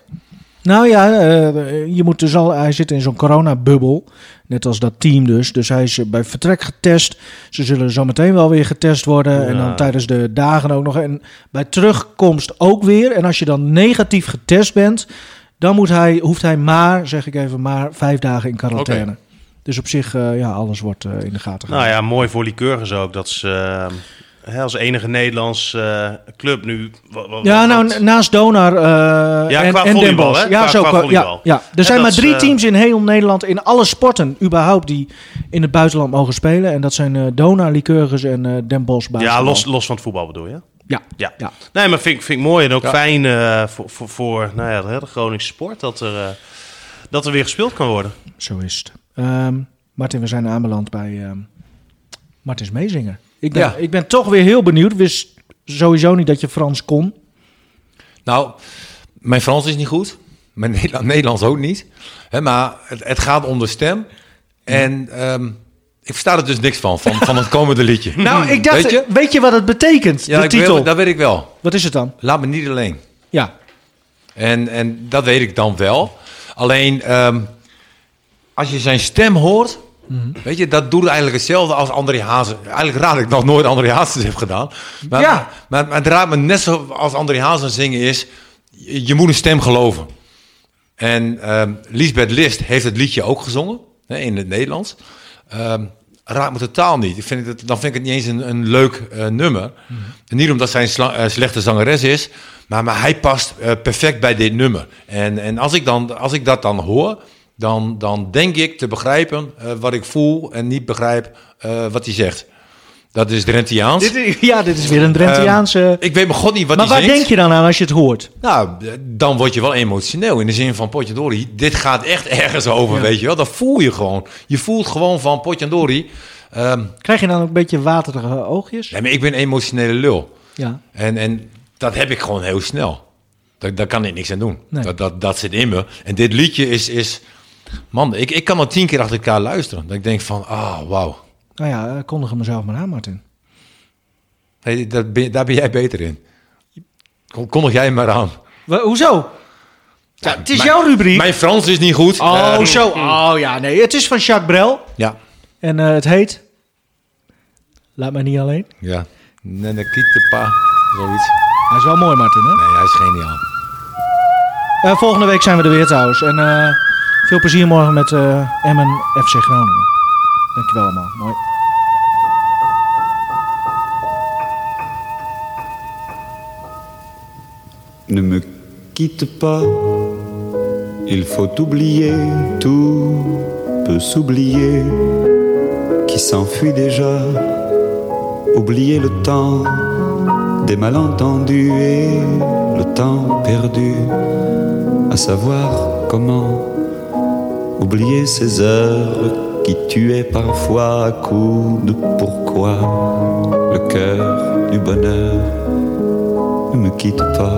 Speaker 3: Nou ja, eh, je moet dus al, hij zit in zo'n coronabubbel, net als dat team dus. Dus hij is eh, bij vertrek getest. Ze zullen zo meteen wel weer getest worden en
Speaker 2: Ja.
Speaker 3: dan tijdens de dagen ook nog. En bij terugkomst ook weer. En als je dan negatief getest bent, dan moet hij, hoeft hij maar, zeg ik even maar, vijf dagen in quarantaine. Dus op zich, eh, ja, alles wordt eh, in de gaten
Speaker 2: Nou
Speaker 3: gehouden.
Speaker 2: ja, mooi voor Lycurgus ook. Dat ze eh, hè, als enige Nederlands eh, club nu... wa- wa-
Speaker 3: Ja,
Speaker 2: wat-
Speaker 3: nou, naast Donar eh,
Speaker 2: Ja,
Speaker 3: en,
Speaker 2: qua
Speaker 3: en Den
Speaker 2: volleybal,
Speaker 3: Bosch.
Speaker 2: hè?
Speaker 3: Ja,
Speaker 2: Qua-
Speaker 3: zo
Speaker 2: qua
Speaker 3: qua- ja,
Speaker 2: volleybal.
Speaker 3: ja. Er
Speaker 2: En
Speaker 3: zijn maar
Speaker 2: dat is,
Speaker 3: drie
Speaker 2: eh,
Speaker 3: teams in heel Nederland, in alle sporten überhaupt, die in het buitenland mogen spelen. En dat zijn eh Donar, Lycurgus en eh Den Bosch.
Speaker 2: Ja,
Speaker 3: basketbal.
Speaker 2: los, los van het voetbal bedoel je?
Speaker 6: Ja.
Speaker 2: Ja.
Speaker 6: Ja.
Speaker 2: Nee, maar vind, ik- vind ik mooi en ook
Speaker 4: Ja.
Speaker 2: fijn eh, voor, voor, voor nou ja, de hele Groningse sport dat er, eh, dat er weer gespeeld kan worden.
Speaker 3: Zo is het. Ehm, Martin, we zijn aanbeland bij ehm Martins Meezinger. Ik ben,
Speaker 4: Ja.
Speaker 3: ik ben toch weer heel benieuwd. Wist sowieso niet dat je Frans kon.
Speaker 4: Nou, mijn Frans is niet goed. Mijn Nederla- Nederlands ook niet. Hè, maar het, het gaat om de stem. En ehm, ik versta er dus niks van, van, van het komende liedje.
Speaker 3: Nou, ik dacht, weet
Speaker 4: Mhm. Weet
Speaker 3: je,
Speaker 4: je?
Speaker 3: wat het betekent?
Speaker 4: ja,
Speaker 3: de
Speaker 4: ik weet-
Speaker 3: titel.
Speaker 4: dat weet ik wel.
Speaker 3: Wat is het dan?
Speaker 4: Laat me niet alleen.
Speaker 3: Ja.
Speaker 4: En, en dat weet ik dan wel. Alleen, ehm, als je zijn stem hoort... Weet je, dat doet eigenlijk hetzelfde als André Hazes. Eigenlijk raar dat ik nog nooit André Hazes heb gedaan. Maar,
Speaker 3: Ja.
Speaker 4: maar, maar het raakt me net zo als André Hazes zingen is... Je, je moet een stem geloven. En ehm Lisbeth List heeft het liedje ook gezongen. Hè, in het Nederlands. Ehm raakt me totaal niet. Ik vind het, dan vind ik het niet eens een, een leuk eh, nummer.
Speaker 3: Mhm.
Speaker 4: En Niet omdat zij een sla- eh, slechte zangeres is. Maar, maar hij past eh, perfect bij dit nummer. En, en als, ik dan, als ik dat dan hoor... Dan, dan denk ik te begrijpen eh, wat ik voel en niet begrijp eh, wat hij zegt. Dat is Drentiaans. Ehm,
Speaker 3: Dit is, ja, dit is weer een Drentiaanse...
Speaker 4: Ik weet mijn god niet wat
Speaker 3: maar
Speaker 4: hij
Speaker 3: waar
Speaker 4: zingt.
Speaker 3: denk je dan aan als je het hoort?
Speaker 4: Nou, dan word je wel emotioneel. In de zin van Potjandori, dit gaat echt ergens over, weet je wel. Dat voel je gewoon. Je voelt gewoon van Potjandori. ehm
Speaker 3: Krijg je dan ook een beetje waterige oogjes?
Speaker 4: nee, maar ik ben een emotionele lul.
Speaker 3: Ja.
Speaker 4: En, en dat heb ik gewoon heel snel. Daar, daar kan ik niks aan doen.
Speaker 3: Nee.
Speaker 4: Dat, dat, dat zit in me. En dit liedje is... is man, ik, ik kan al tien keer achter elkaar luisteren. Dat ik denk van, ah, wauw.
Speaker 3: Nou ja, eh, kondig hem mezelf maar aan, Martin.
Speaker 4: Hey, dat ben- daar ben jij beter in. Kon- Kondig jij hem maar aan.
Speaker 3: Wa- hoezo? Ja, het is
Speaker 4: mijn-
Speaker 3: jouw rubriek.
Speaker 4: Mijn Frans is niet goed.
Speaker 3: Oh,
Speaker 4: Eh,
Speaker 3: zo. Oh ja, nee. Het is van Jacques Brel.
Speaker 4: Ja,
Speaker 3: En eh, het heet... Laat mij niet alleen.
Speaker 4: ja. Nenekitepa, zoiets.
Speaker 3: Hij is wel mooi, Martin, hè?
Speaker 4: Nee, hij is geniaal.
Speaker 3: Eh, volgende week zijn we er weer trouwens. En eh, veel plezier morgen met eh, Emmen FC Groningen. Dankjewel allemaal. Mooi.
Speaker 7: Ne me quitte pas, il faut oublier, tout peut s'oublier, qui s'enfuit déjà, oublier le temps des malentendus et le temps perdu, à savoir comment oublier ces heures qui tuaient parfois à coups de pourquoi le cœur du bonheur ne me quitte pas,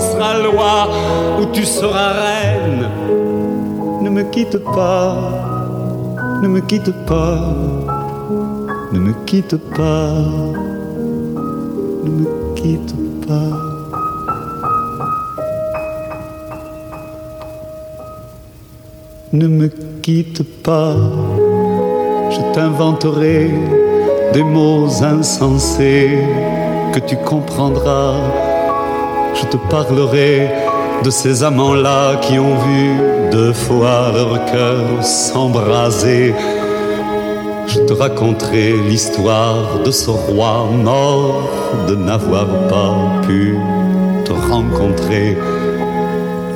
Speaker 7: sera loi, où tu seras reine. Ne me quitte pas, ne me quitte pas, ne me quitte pas, ne me quitte pas. Ne me quitte pas, je t'inventerai des mots insensés que tu comprendras. Je te parlerai de ces amants-là qui ont vu deux fois leur cœur s'embraser. Je te raconterai l'histoire de ce roi mort de n'avoir pas pu te rencontrer.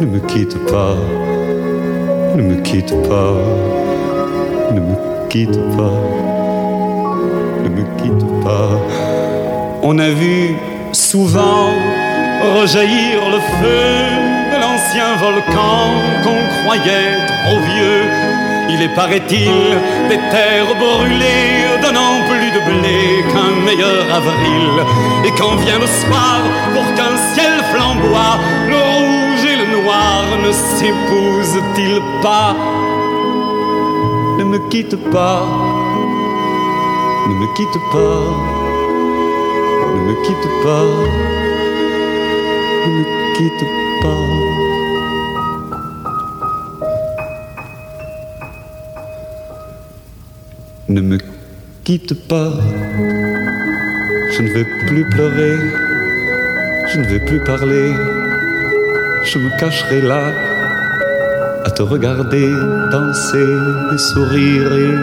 Speaker 7: Ne me quitte pas. Ne me quitte pas, ne me quitte pas, ne me quitte pas. On a vu souvent rejaillir le feu de l'ancien volcan qu'on croyait trop vieux. Il est, paraît-il, des terres brûlées, donnant plus de blé qu'un meilleur avril. Et quand vient le soir, pour qu'un ciel flamboie, le rouge et le noir ne s'épousent-ils pas Ne me quitte pas, ne me quitte pas ne me quitte pas, ne me quitte pas. Ne me quitte pas, Je ne vais plus pleurer, je ne vais plus parler. Je me cacherai là à te regarder danser et sourire et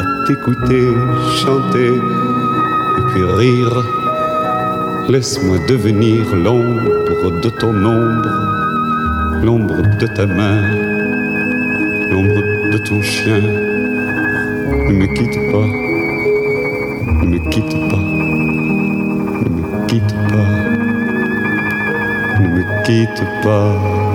Speaker 7: à t'écouter chanter et puis rire. Laisse-moi devenir l'ombre de ton ombre, l'ombre de ta main, l'ombre de ton chien. Ne me quitte pas, ne me quitte pas, ne me quitte pas, ne me quitte pas.